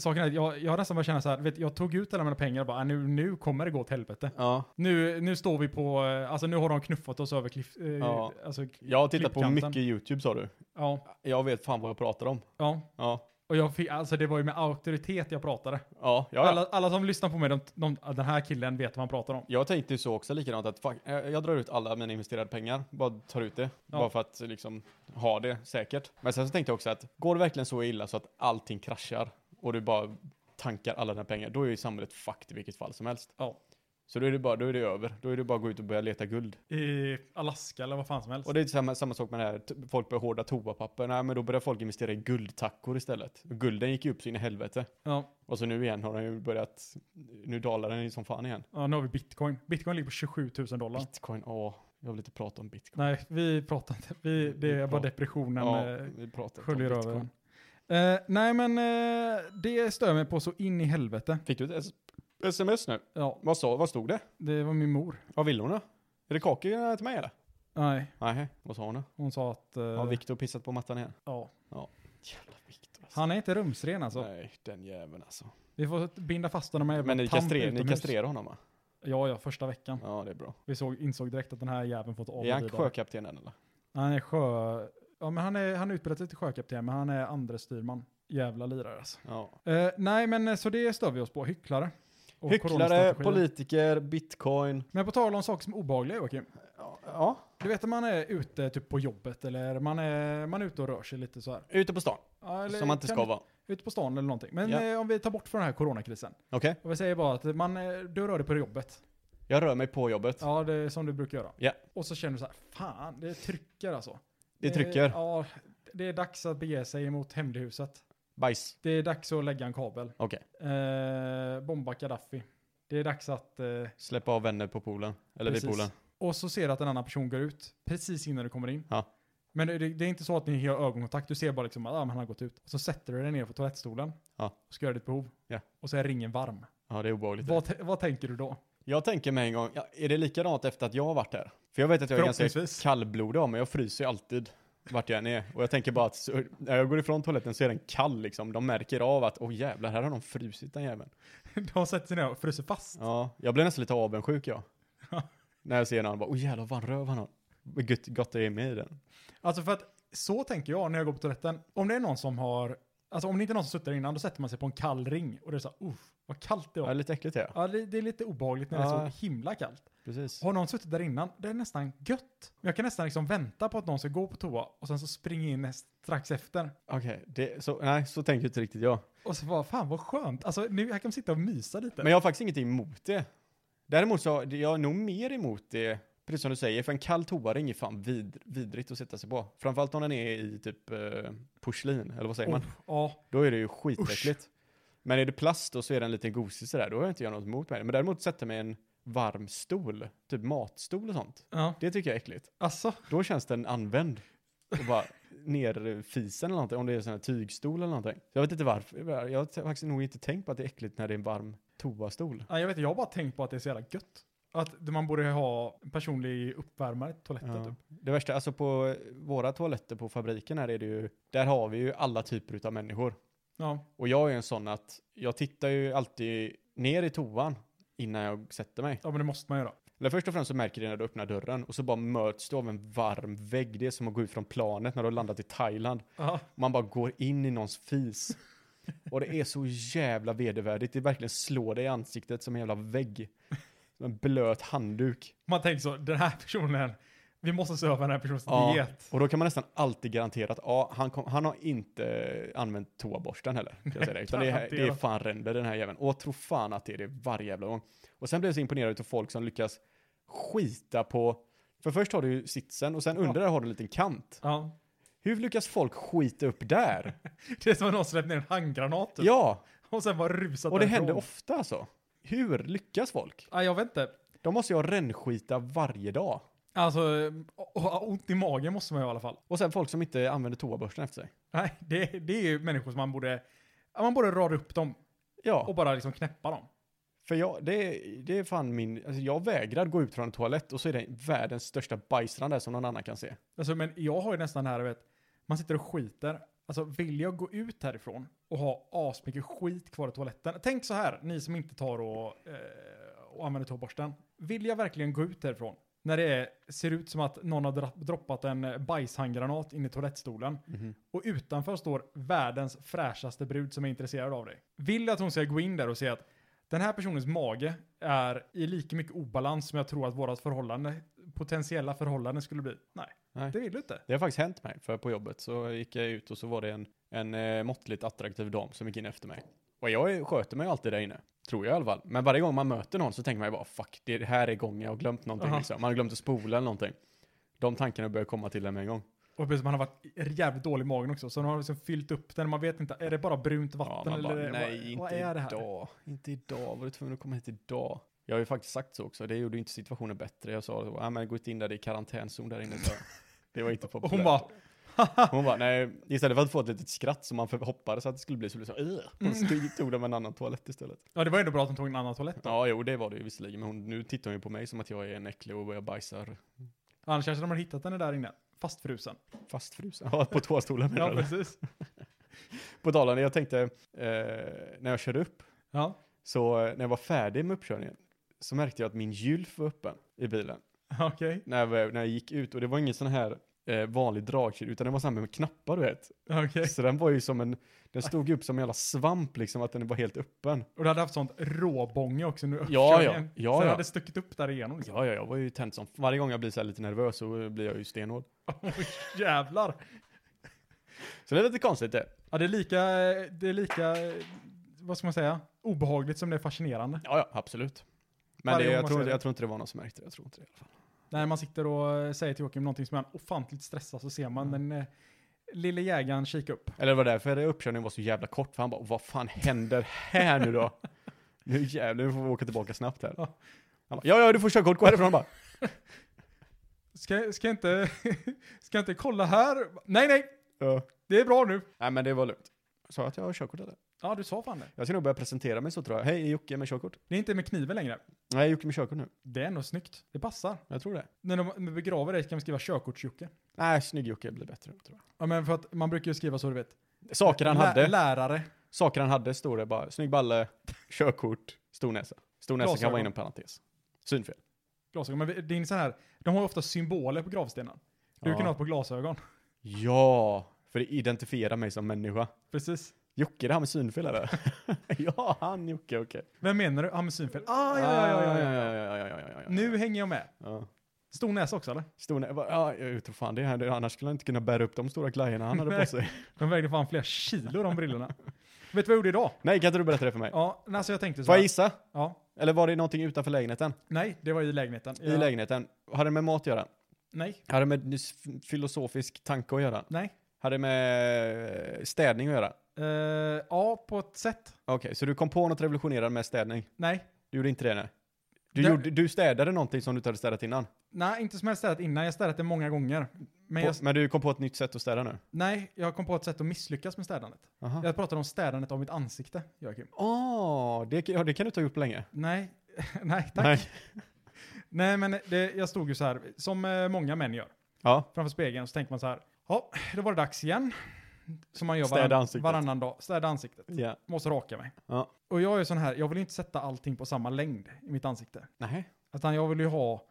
Speaker 1: saken är att jag, jag har nästan börjat känna så här, vet, jag tog ut alla mina pengar och bara, "Ah, nu, nu kommer det gå åt helvete.
Speaker 3: Ja.
Speaker 1: Nu, nu står vi på, eh, alltså nu har de knuffat oss över kliff... Eh,
Speaker 3: Ja.
Speaker 1: Alltså, k-
Speaker 3: Jag har tittat på
Speaker 1: Klippkanten.
Speaker 3: mycket YouTube sa du.
Speaker 1: ja,
Speaker 3: Jag vet fan vad jag pratar om.
Speaker 1: ja.
Speaker 3: Ja,
Speaker 1: Och jag fick, alltså det var ju med auktoritet jag pratade.
Speaker 3: ja, ja.
Speaker 1: Alla,
Speaker 3: ja.
Speaker 1: alla som lyssnar på mig, de, de, den här killen vet vad han pratar om.
Speaker 3: Jag tänkte ju så också likadant att fuck, jag jag drar ut alla mina investerade pengar, bara tar ut det. Bara för att liksom ha det säkert. Men sen så tänkte jag också att går det verkligen så illa så att allting kraschar och du bara tankar alla dina pengar, då är ju samhället fucked i vilket fall som helst.
Speaker 1: Ja.
Speaker 3: Så då är det bara, då är det över. Då är det bara att gå ut och börja leta guld.
Speaker 1: I Alaska eller vad fan som helst.
Speaker 3: Och det är samma, samma sak med det här, t- folk börjar hårda toapapper. Nej, men då börjar folk investera i guldtackor istället. Och Gulden gick ju upp så in i helvete.
Speaker 1: Ja,
Speaker 3: Och så nu igen har den ju börjat, nu dalar den ju som fan igen.
Speaker 1: ja, nu har vi bitcoin. Bitcoin ligger på 27 000 dollar.
Speaker 3: Bitcoin, åh, jag vill inte prata om bitcoin.
Speaker 1: Nej, vi pratar inte. Vi, det
Speaker 3: Vi
Speaker 1: är bara
Speaker 3: pratar-
Speaker 1: depressionen.
Speaker 3: ja,
Speaker 1: eh,
Speaker 3: vi pratar inte om
Speaker 1: sköljer
Speaker 3: bitcoin.
Speaker 1: över. Eh, nej men eh, det stör mig på så in i helvete.
Speaker 3: Fick du ett s- sms nu?
Speaker 1: Ja,
Speaker 3: Vad, sa, vad stod det?
Speaker 1: det var min mor.
Speaker 3: Vad vill hon då? Är det kakor till mig eller?
Speaker 1: Nej,
Speaker 3: Nej, vad sa hon då?
Speaker 1: hon sa att... eh,
Speaker 3: Har Viktor pissat på mattan igen?
Speaker 1: ja.
Speaker 3: Jävla Viktor alltså.
Speaker 1: Han är inte rumsren alltså.
Speaker 3: Nej, den jäveln alltså.
Speaker 1: Vi får binda fast honom med
Speaker 3: Men ni,
Speaker 1: tamp
Speaker 3: kastrer, ni
Speaker 1: utomhus.
Speaker 3: kastrerar honom va?
Speaker 1: Ja, ja, första veckan.
Speaker 3: Ja, det är bra.
Speaker 1: Vi såg, insåg direkt att den här jäveln fått av
Speaker 3: Är han sjökapten än eller?
Speaker 1: Han är sjö... Ja, men han är, han utbildar sig till sjökapten, men han är andre styrman. Jävla lirare alltså.
Speaker 3: Ja.
Speaker 1: Eh, nej, men eh, så det stör vi oss på. Hycklare. Och
Speaker 3: Hycklare,
Speaker 1: coronastrategier.
Speaker 3: politiker, bitcoin.
Speaker 1: Men på tal om saker som är obehagliga, Joakim.
Speaker 3: Ja, ja.
Speaker 1: Du vet när man är ute typ på jobbet eller man är, man är ute och rör sig lite så här.
Speaker 3: Ute på stan,
Speaker 1: Ja, eller
Speaker 3: som man inte
Speaker 1: kan-
Speaker 3: ska vara.
Speaker 1: Ute på stan eller någonting. Men
Speaker 3: Ja.
Speaker 1: eh, om vi tar bort från den här coronakrisen.
Speaker 3: Okej,
Speaker 1: Och vi säger bara att man, eh, du rör dig på jobbet.
Speaker 3: jag rör mig på jobbet.
Speaker 1: Ja, det är som du brukar göra.
Speaker 3: Ja.
Speaker 1: Och så känner du så här, fan, det trycker alltså.
Speaker 3: Det
Speaker 1: Eh,
Speaker 3: trycker.
Speaker 1: Ja, det är dags att bege sig mot hemlighuset.
Speaker 3: Bajs.
Speaker 1: Det är dags att lägga en kabel.
Speaker 3: Okej,
Speaker 1: Eh, bomba Gaddafi. Det är dags att... Eh,
Speaker 3: släpp av vänner på poolen. Eller vid
Speaker 1: Precis.
Speaker 3: poolen.
Speaker 1: och så ser du att en annan person går ut precis innan du kommer in.
Speaker 3: Ja.
Speaker 1: Men det, det är inte så att ni har ögonkontakt. Du ser bara liksom att ah, men han har gått ut. Och så sätter du dig ner på toalettstolen.
Speaker 3: Ja.
Speaker 1: Och ska göra ditt behov.
Speaker 3: Ja.
Speaker 1: Och så är ringen varm.
Speaker 3: Ja, det är obehagligt.
Speaker 1: Vad, t- vad tänker du då?
Speaker 3: Jag tänker mig en gång, ja, är det likadant efter att jag har varit här? För jag vet att jag är ganska
Speaker 1: Förhoppningsvis.
Speaker 3: kallblodig av mig, jag fryser ju alltid vart jag än är. Och jag tänker bara att så, när jag går ifrån toaletten så är den kall liksom. De märker av att, åh jävlar, här har de frusit den jäveln.
Speaker 1: De sätter sig ner och fryser fast.
Speaker 3: Ja, jag blir nästan lite avundsjuk jag.
Speaker 1: Ja.
Speaker 3: när jag ser någon, bara, åh jävlar vad röv han har. Vad gött, gott det är med i den.
Speaker 1: Alltså för att så tänker jag när jag går på toaletten. Om det är någon som har, alltså om det inte är någon som suttit där innan, då sätter man sig på en kall ring och det är så här, uff, vad kallt det
Speaker 3: Ja,
Speaker 1: var.
Speaker 3: lite äckligt är jag.
Speaker 1: Ja, det, det är lite obehagligt när det är
Speaker 3: Ja.
Speaker 1: så himla kallt.
Speaker 3: Precis.
Speaker 1: Har någon suttit där innan, det är nästan gött. Jag kan nästan liksom vänta på att någon ska gå på toa och sen så springa in näst, strax efter.
Speaker 3: Okej, det- så, nej, så tänker inte riktigt jag.
Speaker 1: Och så bara, fan vad skönt. Alltså nu jag kan sitta och mysa lite.
Speaker 3: Men jag har faktiskt inget emot det. Däremot så det- jag är nog mer emot det, precis som du säger, för en kall toaring är fan vid, vidrigt att sätta sig på. Framförallt om den är i typ eh, porslin, eller vad säger man?
Speaker 1: Oh, ja,
Speaker 3: Då är det ju skitäckligt. Men är det plast och så är den lite gosig sådär, då har jag inte jag något emot med det. Men däremot sätta mig i en varm stol, typ matstol och sånt.
Speaker 1: ja.
Speaker 3: Det tycker jag är äckligt.
Speaker 1: Alltså,
Speaker 3: Då känns den använd. Och bara ner fisen eller någonting, om det är en sån här tygstol eller någonting. Jag vet inte varför, jag har faktiskt nog inte tänkt på att det är äckligt när det är en varm toastol.
Speaker 1: ja, jag vet jag har bara tänkt på att det är så jävla gött. Att man borde ha en personlig uppvärmare i toaletten
Speaker 3: Ja.
Speaker 1: typ.
Speaker 3: Det värsta, alltså på våra toaletter på fabriken här är det ju, där har vi ju alla typer av människor.
Speaker 1: Ja.
Speaker 3: Och jag är en sån att jag tittar ju alltid ner i toan innan jag sätter mig.
Speaker 1: ja, men det måste man göra.
Speaker 3: Eller först och främst så märker du när du öppnar dörren och så bara möts du av en varm vägg. Det är som att gå ut från planet när du har landat i Thailand.
Speaker 1: Ja.
Speaker 3: Man bara går in i någons fis. Och det är så jävla vedervärdigt. Det verkligen slår dig i ansiktet som en jävla vägg. Som en blöt handduk.
Speaker 1: Man tänker så, den här personen, vi måste se över den här personens
Speaker 3: Ja.
Speaker 1: diet.
Speaker 3: Och då kan man nästan alltid garantera att ja, han, kom, han har inte använt toaborsten heller. Kan jag säga det. Utan det, är, det är
Speaker 1: garanterat.
Speaker 3: fan ränder den här jäveln. Och tro fan att det är det varje jävla gång. Och sen blir jag så imponerad av folk som lyckas skita på... För först har du ju sitsen och sen under där har du en liten kant.
Speaker 1: Ja.
Speaker 3: Hur lyckas folk skita upp där?
Speaker 1: Det är som att någon släppt ner en handgranat typ.
Speaker 3: Ja,
Speaker 1: och sen bara rusat
Speaker 3: och det
Speaker 1: därifrån.
Speaker 3: händer ofta alltså. Hur lyckas folk?
Speaker 1: Ja, jag vet inte.
Speaker 3: De måste ju ha rännskita varje dag.
Speaker 1: Alltså, o- o- ont i magen måste man ju i alla fall.
Speaker 3: Och sen folk som inte använder toabörsten efter sig.
Speaker 1: Nej, det, det är ju människor som man borde, ja, man borde rada upp dem
Speaker 3: Ja.
Speaker 1: och bara liksom knäppa dem.
Speaker 3: För jag, det, det är fan min, alltså jag vägrar gå ut från en toalett och så är det världens största bajsrand där som någon annan kan se.
Speaker 1: Alltså, men jag har ju nästan det här, vet, man sitter och skiter. Alltså vill jag gå ut härifrån och ha asmycket skit kvar i toaletten? Tänk så här, ni som inte tar och, eh, och använder toaborsten. Vill jag verkligen gå ut härifrån? När det är, ser ut som att någon har dra- droppat en eh, bajshandgranat in i toalettstolen. Och utanför står världens fräschaste brud som är intresserad av dig. Vill jag att hon ska gå in där och säga att den här personens mage är i lika mycket obalans som jag tror att vårat förhållande, potentiella förhållande skulle bli? Nej,
Speaker 3: Nej.
Speaker 1: det vill du inte.
Speaker 3: Det har faktiskt hänt mig, för på jobbet så gick jag ut och så var det en, en eh, måttligt attraktiv dam som gick in efter mig. Och Och jag sköter mig alltid där inne. Tror jag i alla fall. Men varje gång man möter någon så tänker man ju bara fuck, det här är gången jag har glömt någonting.
Speaker 1: Aha.
Speaker 3: Liksom. Man har glömt att spola eller någonting. De tankarna börjar komma till en med en gång.
Speaker 1: Och precis, man har varit jävligt dålig i magen också. Så de har liksom fyllt upp den. Man vet inte, är det bara brunt vatten
Speaker 3: man
Speaker 1: eller
Speaker 3: bara,
Speaker 1: vad-
Speaker 3: nej, inte
Speaker 1: vad är det här?
Speaker 3: idag. Inte idag. Var du tvungen att komma hit idag? Jag har ju faktiskt sagt så också. Det gjorde ju inte situationen bättre. Jag sa så, ah, men gå inte in där, det är karantänzon där inne. Så det var inte
Speaker 1: Och
Speaker 3: populärt.
Speaker 1: hon bara,
Speaker 3: Hon bara, nej, istället för att få ett litet skratt som man för- hoppades att det skulle bli så blev det så, "Ugh." hon
Speaker 1: Mm.
Speaker 3: stod, tog dem en annan toalett istället.
Speaker 1: ja det var ju ändå bra att de tog en annan toalett då.
Speaker 3: Ja, jo, det var det ju visserligen, men hon, nu tittar hon ju på mig som att jag är en äcklig och jag bajsar
Speaker 1: Annars kanske de hade hittat den där inne. Fastfrusen.
Speaker 3: fastfrusen. Ja, på toastolen menar
Speaker 1: Ja,
Speaker 3: du?
Speaker 1: precis.
Speaker 3: På talande, jag tänkte, eh, när jag körde upp,
Speaker 1: Ja.
Speaker 3: så eh, när jag var färdig med uppkörningen, så märkte jag att min gylf var öppen i bilen.
Speaker 1: Okej.
Speaker 3: När jag, när jag gick ut, och det var ingen sån här eh, vanlig dragkedja, utan det var samma med knappar, du vet.
Speaker 1: Okej.
Speaker 3: Så den var ju som en, den stod ju upp som en jävla svamp liksom, att den var helt öppen.
Speaker 1: Och du hade haft sånt råbånge också nu.
Speaker 3: ja.
Speaker 1: uppkörningen.
Speaker 3: Ja,
Speaker 1: Så det
Speaker 3: ja.
Speaker 1: hade stuckit upp där igenom liksom.
Speaker 3: Ja, ja, jag var ju tänd som... Varje gång jag blir så här lite nervös så blir jag ju stenhård.
Speaker 1: Oj, jävlar.
Speaker 3: Så det är lite konstigt det.
Speaker 1: Ja, det är lika, det är lika, vad ska man säga, obehagligt som det är fascinerande.
Speaker 3: Ja, ja, absolut. Men
Speaker 1: Varje
Speaker 3: det,
Speaker 1: gång
Speaker 3: jag,
Speaker 1: man
Speaker 3: tror,
Speaker 1: ser
Speaker 3: inte-
Speaker 1: det.
Speaker 3: jag tror inte det var någon som märkte det. Jag tror inte det.
Speaker 1: När man sitter och säger till Joakim någonting som är ofantligt stressad så ser man
Speaker 3: Mm.
Speaker 1: den eh, lille jägaren kika upp.
Speaker 3: Eller det var därför uppkörningen var så jävla kort. För han bara, vad fan händer här nu då? Nu jävlar, nu får vi åka tillbaka snabbt här. Han
Speaker 1: Ja.
Speaker 3: bara, ja, ja, du får köra kort, gå härifrån Han bara.
Speaker 1: Ska, ska, jag inte, ska jag inte kolla här? Nej, nej,
Speaker 3: Ja.
Speaker 1: det är bra nu.
Speaker 3: Nej, men det var lugnt. Jag Sa att jag har körkort eller?
Speaker 1: Ja, du sa fan det.
Speaker 3: Jag ska nog börja presentera mig så tror jag. Hej, Jocke med körkort.
Speaker 1: Det är inte med kniven längre.
Speaker 3: Nej, Jocke med körkort nu.
Speaker 1: Det är ändå snyggt. Det passar.
Speaker 3: Jag tror det.
Speaker 1: När de när de begraver dig kan vi skriva körkortsjocke.
Speaker 3: Nej, snygg Jocke blir bättre. Tror
Speaker 1: Ja, men för att man brukar ju skriva så du vet.
Speaker 3: jag. Saker han
Speaker 1: Lä-
Speaker 3: hade.
Speaker 1: Lärare.
Speaker 3: Saker han hade stod det bara, snygg balle, körkort, stor näsa. Stor näsa kan
Speaker 1: Glasögon.
Speaker 3: vara inom parentes. Synfel.
Speaker 1: Glasögon. Men vi- det är så här, de har ju ofta symboler på gravstenen. Du
Speaker 3: Ja.
Speaker 1: kan ha ett på glasögon.
Speaker 3: Ja, för det identifierar mig som människa.
Speaker 1: Precis.
Speaker 3: Jocke, det här med synfel eller? ja, han Jocke, okej.
Speaker 1: Vem menar du? Ah, med synfel. Ah, ja, ja, ja, ja, ja.
Speaker 3: ja, ja, ja, ja, ja.
Speaker 1: Nu hänger jag med.
Speaker 3: Ja.
Speaker 1: Stor näsa också eller?
Speaker 3: Stor nä- va- ja, jag tror fan det här, annars skulle han inte kunna bära upp de stora glajjorna han hade på
Speaker 1: Nej.
Speaker 3: sig.
Speaker 1: De vägde fan flera kilo de brillorna. Vet du vad jag gjorde idag?
Speaker 3: Nej, kan inte du berätta det för mig?
Speaker 1: Ja, men alltså jag tänkte så
Speaker 3: Får jag
Speaker 1: här.
Speaker 3: gissa?
Speaker 1: Ja,
Speaker 3: Eller var det någonting utanför lägenheten?
Speaker 1: nej, det var i lägenheten.
Speaker 3: I
Speaker 1: Ja,
Speaker 3: lägenheten? Har det med mat att göra?
Speaker 1: Nej,
Speaker 3: Har det med nys- filosofisk tanke att göra?
Speaker 1: nej.
Speaker 3: Har det med eh, städning att göra?
Speaker 1: Eh, ja, på ett sätt.
Speaker 3: Okej, så du kom på något revolutionerande med städning?
Speaker 1: Nej.
Speaker 3: Du gjorde inte det nej? Du,
Speaker 1: Det-
Speaker 3: gjorde, du städade någonting som du inte hade städat innan?
Speaker 1: Nej, inte som jag städat innan. Jag har städat det många gånger. Men
Speaker 3: på,
Speaker 1: jag,
Speaker 3: men du kom på ett nytt sätt att städa nu?
Speaker 1: nej, jag kom på ett sätt att misslyckas med städandet.
Speaker 3: Aha.
Speaker 1: Jag pratade om städandet av mitt ansikte, Joakim.
Speaker 3: Åh, Ah, det, ja, det kan du inte ha gjort på länge.
Speaker 1: Nej, nej, tack. Nej,
Speaker 3: Nej.
Speaker 1: men det, jag stod ju så här, som eh, många män gör,
Speaker 3: Ja,
Speaker 1: framför spegeln, så tänker man så här, ja, då var det dags igen. Som man gör
Speaker 3: Städa
Speaker 1: varann,
Speaker 3: ansiktet.
Speaker 1: varannan dag. Städa ansiktet.
Speaker 3: ja.
Speaker 1: Måste raka mig.
Speaker 3: Ja.
Speaker 1: Och jag är sån här, jag vill ju inte sätta allting på samma längd i mitt ansikte.
Speaker 3: Nej.
Speaker 1: Utan jag vill ju ha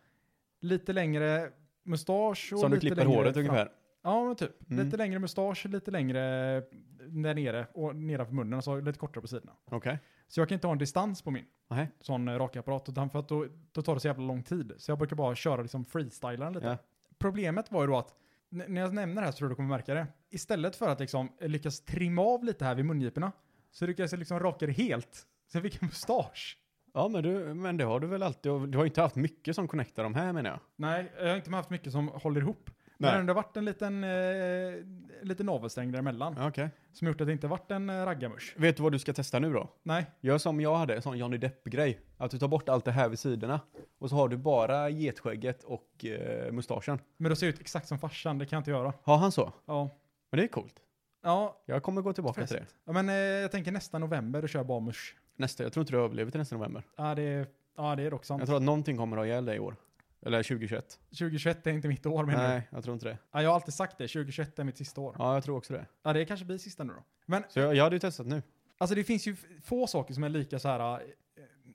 Speaker 1: lite längre mustasch och
Speaker 3: Som du
Speaker 1: lite
Speaker 3: klipper
Speaker 1: längre
Speaker 3: håret
Speaker 1: fram-
Speaker 3: ungefär.
Speaker 1: Ja, men typ.
Speaker 3: Mm.
Speaker 1: Lite längre mustasch, lite längre eh, där nere och nedanför munnen och så lite kortare på sidorna.
Speaker 3: Okej.
Speaker 1: Så jag kan inte ha en distans på min
Speaker 3: Nej.
Speaker 1: sån eh, rakapparat, utan för att då, då tar det så jävla lång tid. Så jag brukar bara köra liksom freestylaren lite.
Speaker 3: Ja.
Speaker 1: Problemet var ju då att, n- när jag nämner det här så tror jag du kommer märka det. Istället för att liksom eh, lyckas trimma av lite här vid mungiporna, så lyckades jag liksom raka det helt. Så jag fick en mustasch.
Speaker 3: Ja, men, du, men det har du väl alltid. och Du har ju inte haft mycket som connectar de här menar jag.
Speaker 1: Nej, jag har inte haft mycket som håller ihop.
Speaker 3: Nej.
Speaker 1: Men det har varit en liten, eh, liten navelsträng däremellan.
Speaker 3: Okej.
Speaker 1: Som gjort att det inte varit en eh, raggarmusch.
Speaker 3: Vet du vad du ska testa nu då?
Speaker 1: Nej,
Speaker 3: Gör som jag hade, en sån Johnny Depp-grej. Att du tar bort allt det här vid sidorna. Och så har du bara getskägget och eh, mustaschen.
Speaker 1: men då ser jag ut exakt som farsan, det kan jag inte göra.
Speaker 3: Har han så?
Speaker 1: Ja,
Speaker 3: Men det är coolt.
Speaker 1: ja,
Speaker 3: Jag kommer gå tillbaka till det.
Speaker 1: fest. ja men eh, jag tänker nästa november, då kör jag bara musch.
Speaker 3: Nästa, jag tror inte du överlever till nästa november.
Speaker 1: Ja, det, är- ja, det är dock sant.
Speaker 3: Jag tror att någonting kommer att ha ihjäl dig i år. Eller 2021.
Speaker 1: 2021 är inte mitt år menar du?
Speaker 3: Nej, jag tror inte det.
Speaker 1: Ja, jag har alltid sagt det, 2021 är mitt sista år. Ja,
Speaker 3: Ja, jag tror också det.
Speaker 1: det kanske blir sista nu då. Men
Speaker 3: Så jag, jag hade ju testat nu.
Speaker 1: alltså det finns ju f- få saker som är lika så här, eh,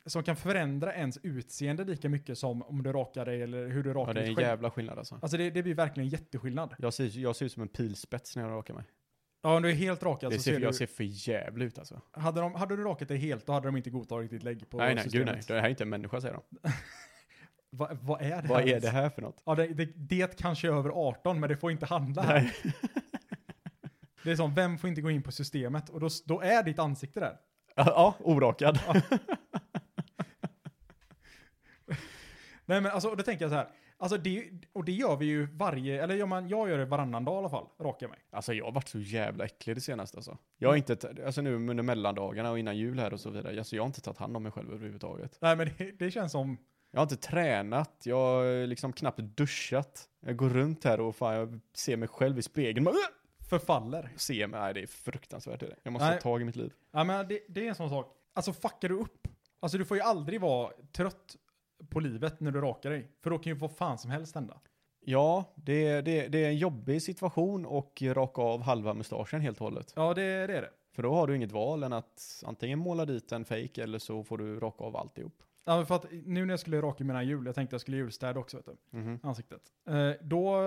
Speaker 1: som kan förändra ens utseende lika mycket som om du rakar dig eller hur du rakar
Speaker 3: Ja, det är en
Speaker 1: ditt skägg.
Speaker 3: jävla skillnad alltså.
Speaker 1: Alltså det, det blir verkligen jätteskillnad.
Speaker 3: Jag ser, jag ser ut som en pilspets när jag rakar mig.
Speaker 1: Ja, om du är helt rakad
Speaker 3: det
Speaker 1: så
Speaker 3: ser,
Speaker 1: ser du...
Speaker 3: jag ser för jävligt ut alltså.
Speaker 1: Hade, de, hade du rakat dig helt, då hade de inte godtagit ditt lägg på
Speaker 3: nej, nej, gud
Speaker 1: systemet.
Speaker 3: nej. Det här är inte en människa säger de.
Speaker 1: Va, vad är det
Speaker 3: Vad
Speaker 1: här?
Speaker 3: är det här för något?
Speaker 1: Ja, det, det, det kanske är över 18, men det får inte handla här.
Speaker 3: Nej.
Speaker 1: Det är som, vem får inte gå in på systemet? Och då, s- då är ditt ansikte där.
Speaker 3: Ja, orakad.
Speaker 1: Nej men alltså, och då tänker jag så här. Alltså det, och det gör vi ju varje, eller gör man, jag gör det varannan dag i alla fall, rakar mig.
Speaker 3: Alltså jag har varit så jävla äcklig det senaste alltså. Jag har inte, t- alltså nu under mellandagarna och innan jul här och så vidare, alltså jag har inte tagit hand om mig själv överhuvudtaget.
Speaker 1: Nej men det, det känns som,
Speaker 3: Jag har inte tränat, jag har liksom knappt duschat. Jag går runt här och fan jag ser mig själv i spegeln. Bara, "Åh!"
Speaker 1: förfaller.
Speaker 3: ser mig, nej det är fruktansvärt. Är det. Jag måste
Speaker 1: Nej.
Speaker 3: ta tag i mitt liv.
Speaker 1: Ja men det, det är en sån sak. Alltså fuckar du upp. Alltså du får ju aldrig vara trött på livet när du rakar dig. För då kan ju vad fan som helst hända.
Speaker 3: Ja, det, det, det är en jobbig situation och raka av halva mustaschen helt och hållet.
Speaker 1: Ja det, det är det.
Speaker 3: För då har du inget val än att antingen måla dit en fake eller så får du raka av alltihop.
Speaker 1: Ja men för att nu när jag skulle raka mina hjul, jag tänkte jag skulle julstäda också vet du.
Speaker 3: Mhm.
Speaker 1: ansiktet. Eh, då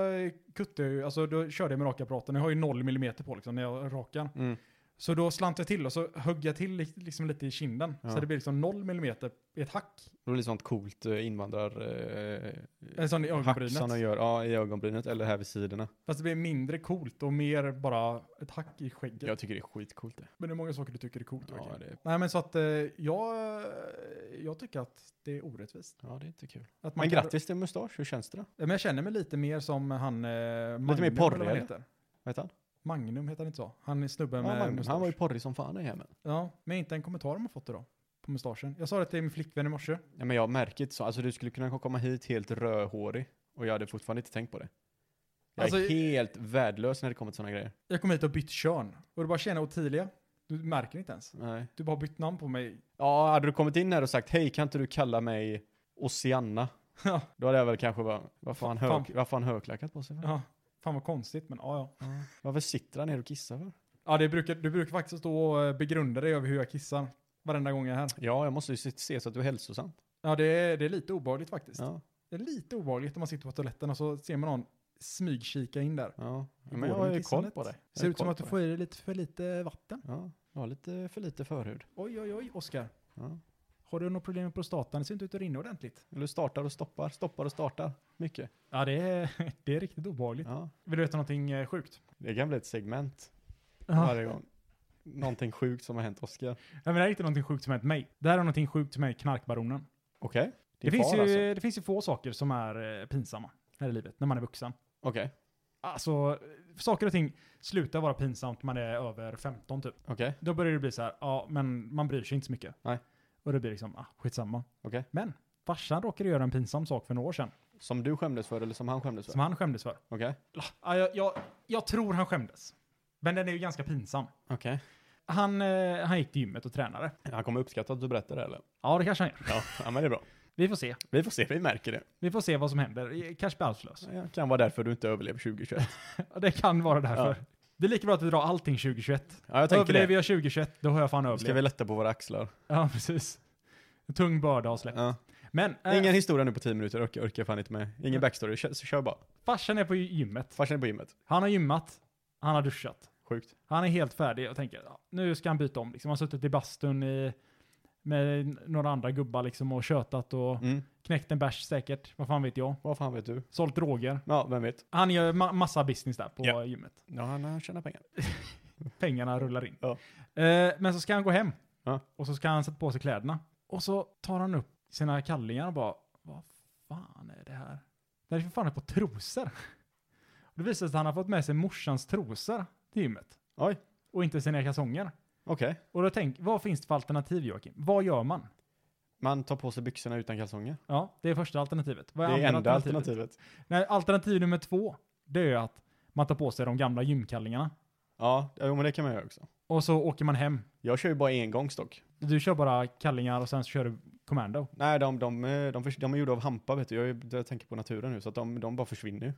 Speaker 1: kuttade jag ju, alltså då körde jag med rakapparaten. Jag har ju 0 millimeter på liksom när jag rakar.
Speaker 3: Mm.
Speaker 1: Så då slant jag till och så högg jag till li- liksom lite i kinden.
Speaker 3: Ja.
Speaker 1: Så det blir liksom 0 millimeter i ett hack.
Speaker 3: Det blir sånt coolt eh, invandrar... Eh,
Speaker 1: Eller sån i
Speaker 3: hack som
Speaker 1: ögonbrynet.
Speaker 3: de gör, ja i ögonbrynet eller här vid sidorna.
Speaker 1: Fast det blir mindre coolt och mer bara ett hack i skägget.
Speaker 3: Jag tycker det är skitcoolt det.
Speaker 1: Men det är många saker du tycker är coolt.
Speaker 3: Ja,
Speaker 1: Joakim.
Speaker 3: det,
Speaker 1: Nej men så att eh, jag, eh, jag tycker att det är orättvist.
Speaker 3: ja, det är inte kul.
Speaker 1: Att
Speaker 3: Men
Speaker 1: kan-
Speaker 3: grattis till mustasch, hur känns det då?
Speaker 1: Men jag känner mig lite mer som han eh, Magnum.
Speaker 3: mer
Speaker 1: eller
Speaker 3: porrig,
Speaker 1: vad han
Speaker 3: eller?
Speaker 1: heter.
Speaker 3: Vad heter han?
Speaker 1: Magnum heter han inte så? Han är snubben
Speaker 3: Ja,
Speaker 1: med
Speaker 3: Magnus, han
Speaker 1: mustasch.
Speaker 3: var ju porrig som fan i hemmen.
Speaker 1: Ja, men inte en kommentar de har fått idag. På mustaschen. Jag sa det till min flickvän i morse.
Speaker 3: Ja, men jag märker inte så. Alltså du skulle kunna komma hit helt rödhårig och jag hade fortfarande inte tänkt på det. Jag är
Speaker 1: Alltså-
Speaker 3: helt värdelös när det kommer till sådana grejer.
Speaker 1: Jag kom hit och bytt kön. Och du bara tjena Ottilia. Du märker inte ens.
Speaker 3: Nej.
Speaker 1: Du bara har bytt namn på mig.
Speaker 3: Ja, hade du kommit in här och sagt hej, kan inte du kalla mig Oceanna?
Speaker 1: Ja.
Speaker 3: Då hade jag väl kanske bara, varför har han,
Speaker 1: Fan.
Speaker 3: hög, varför har han högklackat på sig? För?
Speaker 1: Ja, fan vad konstigt men ja ja.
Speaker 3: Varför sitter han ner och kissar för?
Speaker 1: Ja, det brukar, du brukar faktiskt stå och eh, begrunda dig över hur jag kissar. Varenda gång jag är här.
Speaker 3: Ja, jag måste ju se- se så att du är hälsosam.
Speaker 1: Ja, det är, det är lite obehagligt faktiskt.
Speaker 3: Ja,
Speaker 1: Det är lite obehagligt om man sitter på toaletten och så ser man någon smygkika in där.
Speaker 3: ja.
Speaker 1: Hur
Speaker 3: Men jag
Speaker 1: går det
Speaker 3: har
Speaker 1: med
Speaker 3: ju koll
Speaker 1: kissandet?
Speaker 3: på det. Jag
Speaker 1: Ser
Speaker 3: har
Speaker 1: ut som
Speaker 3: koll
Speaker 1: att du
Speaker 3: på
Speaker 1: får i dig lite för lite vatten.
Speaker 3: det. Ja, jag har lite för lite förhud.
Speaker 1: Oj, oj, oj, Oskar.
Speaker 3: Ja.
Speaker 1: Har du något problem med prostatan? Det ser inte ut att rinna ordentligt.
Speaker 3: Eller startar och stoppar, stoppar och startar. Mycket.
Speaker 1: Ja, det är, det är riktigt obehagligt.
Speaker 3: Ja.
Speaker 1: Vill du veta någonting eh, sjukt?
Speaker 3: Det kan bli ett segment.
Speaker 1: Ja.
Speaker 3: varje gång. Någonting sjukt som har hänt Oskar.
Speaker 1: men det här är inte någonting sjukt som hänt mig. Det här är någonting sjukt som hänt knarkbaronen.
Speaker 3: Okej. alltså.
Speaker 1: Det, alltså. finns ju, det finns ju få saker som är eh, pinsamma här i livet, när man är vuxen.
Speaker 3: Okej,
Speaker 1: Alltså, eh, saker och ting slutar vara pinsamt när man är över 15 typ.
Speaker 3: okej,
Speaker 1: Då börjar det bli så här, ja, men man bryr sig inte så mycket.
Speaker 3: Nej.
Speaker 1: Och det blir liksom, ah, skitsamma.
Speaker 3: okej.
Speaker 1: Men, farsan råkade göra en pinsam sak för några år sedan,
Speaker 3: Som du skämdes för eller som han skämdes för?
Speaker 1: som han skämdes för.
Speaker 3: Okej.
Speaker 1: Ah, Ja, jag, jag, jag tror han skämdes. Men den är ju ganska pinsam.
Speaker 3: Okej.
Speaker 1: Han, eh, han gick till gymmet och tränade.
Speaker 3: Han kommer uppskatta att du berättar det eller?
Speaker 1: Ja, det kanske han gör.
Speaker 3: Ja, ja men det är bra.
Speaker 1: Vi får se.
Speaker 3: Vi får se, vi märker det.
Speaker 1: Vi får se vad som händer. Kanske blir arbetslös.
Speaker 3: Det kan vara därför du inte överlever 2021.
Speaker 1: Ja, Det kan vara därför.
Speaker 3: Ja.
Speaker 1: Det är lika bra att vi drar allting 2021.
Speaker 3: Ja, jag tänker
Speaker 1: Överlever
Speaker 3: det.
Speaker 1: jag 2021, då har jag fan
Speaker 3: Då ska vi
Speaker 1: överlevt.
Speaker 3: lätta på våra axlar.
Speaker 1: Ja, precis. En tung börda har släppt.
Speaker 3: Ja.
Speaker 1: Men eh,
Speaker 3: Ingen historia nu på 10 minuter, orkar, orkar fan inte med. Ingen backstory, kör, så kör bara.
Speaker 1: farsan är på gymmet.
Speaker 3: Farsan är på gymmet.
Speaker 1: Han har gymmat. Han har duschat.
Speaker 3: Sjukt.
Speaker 1: Han är helt färdig och tänker, ja, nu ska han byta om. Liksom. Han har suttit i bastun i, med några andra gubbar liksom, och tjötat och
Speaker 3: Mm.
Speaker 1: knäckt en bärs säkert. Vad fan vet jag.
Speaker 3: Vad fan vet du?
Speaker 1: Sålt droger.
Speaker 3: Ja, vem vet?
Speaker 1: Han gör ma- massa business där på
Speaker 3: Ja.
Speaker 1: gymmet.
Speaker 3: Ja, han han tjänar pengar.
Speaker 1: pengarna rullar in.
Speaker 3: Ja.
Speaker 1: Eh, men så ska han gå hem.
Speaker 3: Ja.
Speaker 1: Och så ska han sätta på sig kläderna. Och så tar han upp sina kallingar och bara, vad fan är det här? Det här är för fan ett par trosor. Och det visar sig att han har fått med sig morsans trosor till gymmet.
Speaker 3: Oj.
Speaker 1: Och inte sina kalsonger.
Speaker 3: Okej.
Speaker 1: Och då tänk, vad finns det för alternativ Joakim? Vad gör man?
Speaker 3: Man tar på sig byxorna utan kalsonger.
Speaker 1: Ja, det är första alternativet.
Speaker 3: Det
Speaker 1: Vad
Speaker 3: är
Speaker 1: andra
Speaker 3: enda alternativet.
Speaker 1: Nej, alternativ nummer två, det är att man tar på sig de gamla gymkallingarna.
Speaker 3: Ja, jo, men det kan man göra också.
Speaker 1: Och så åker man hem.
Speaker 3: Jag kör ju bara engångsdock.
Speaker 1: Du kör bara kallingar och sen så kör du commando.
Speaker 3: Nej, de, de, eh, de, förs- de är gjorda av hampa vet du. Jag, är- jag tänker på naturen nu, så att de, de bara försvinner ju.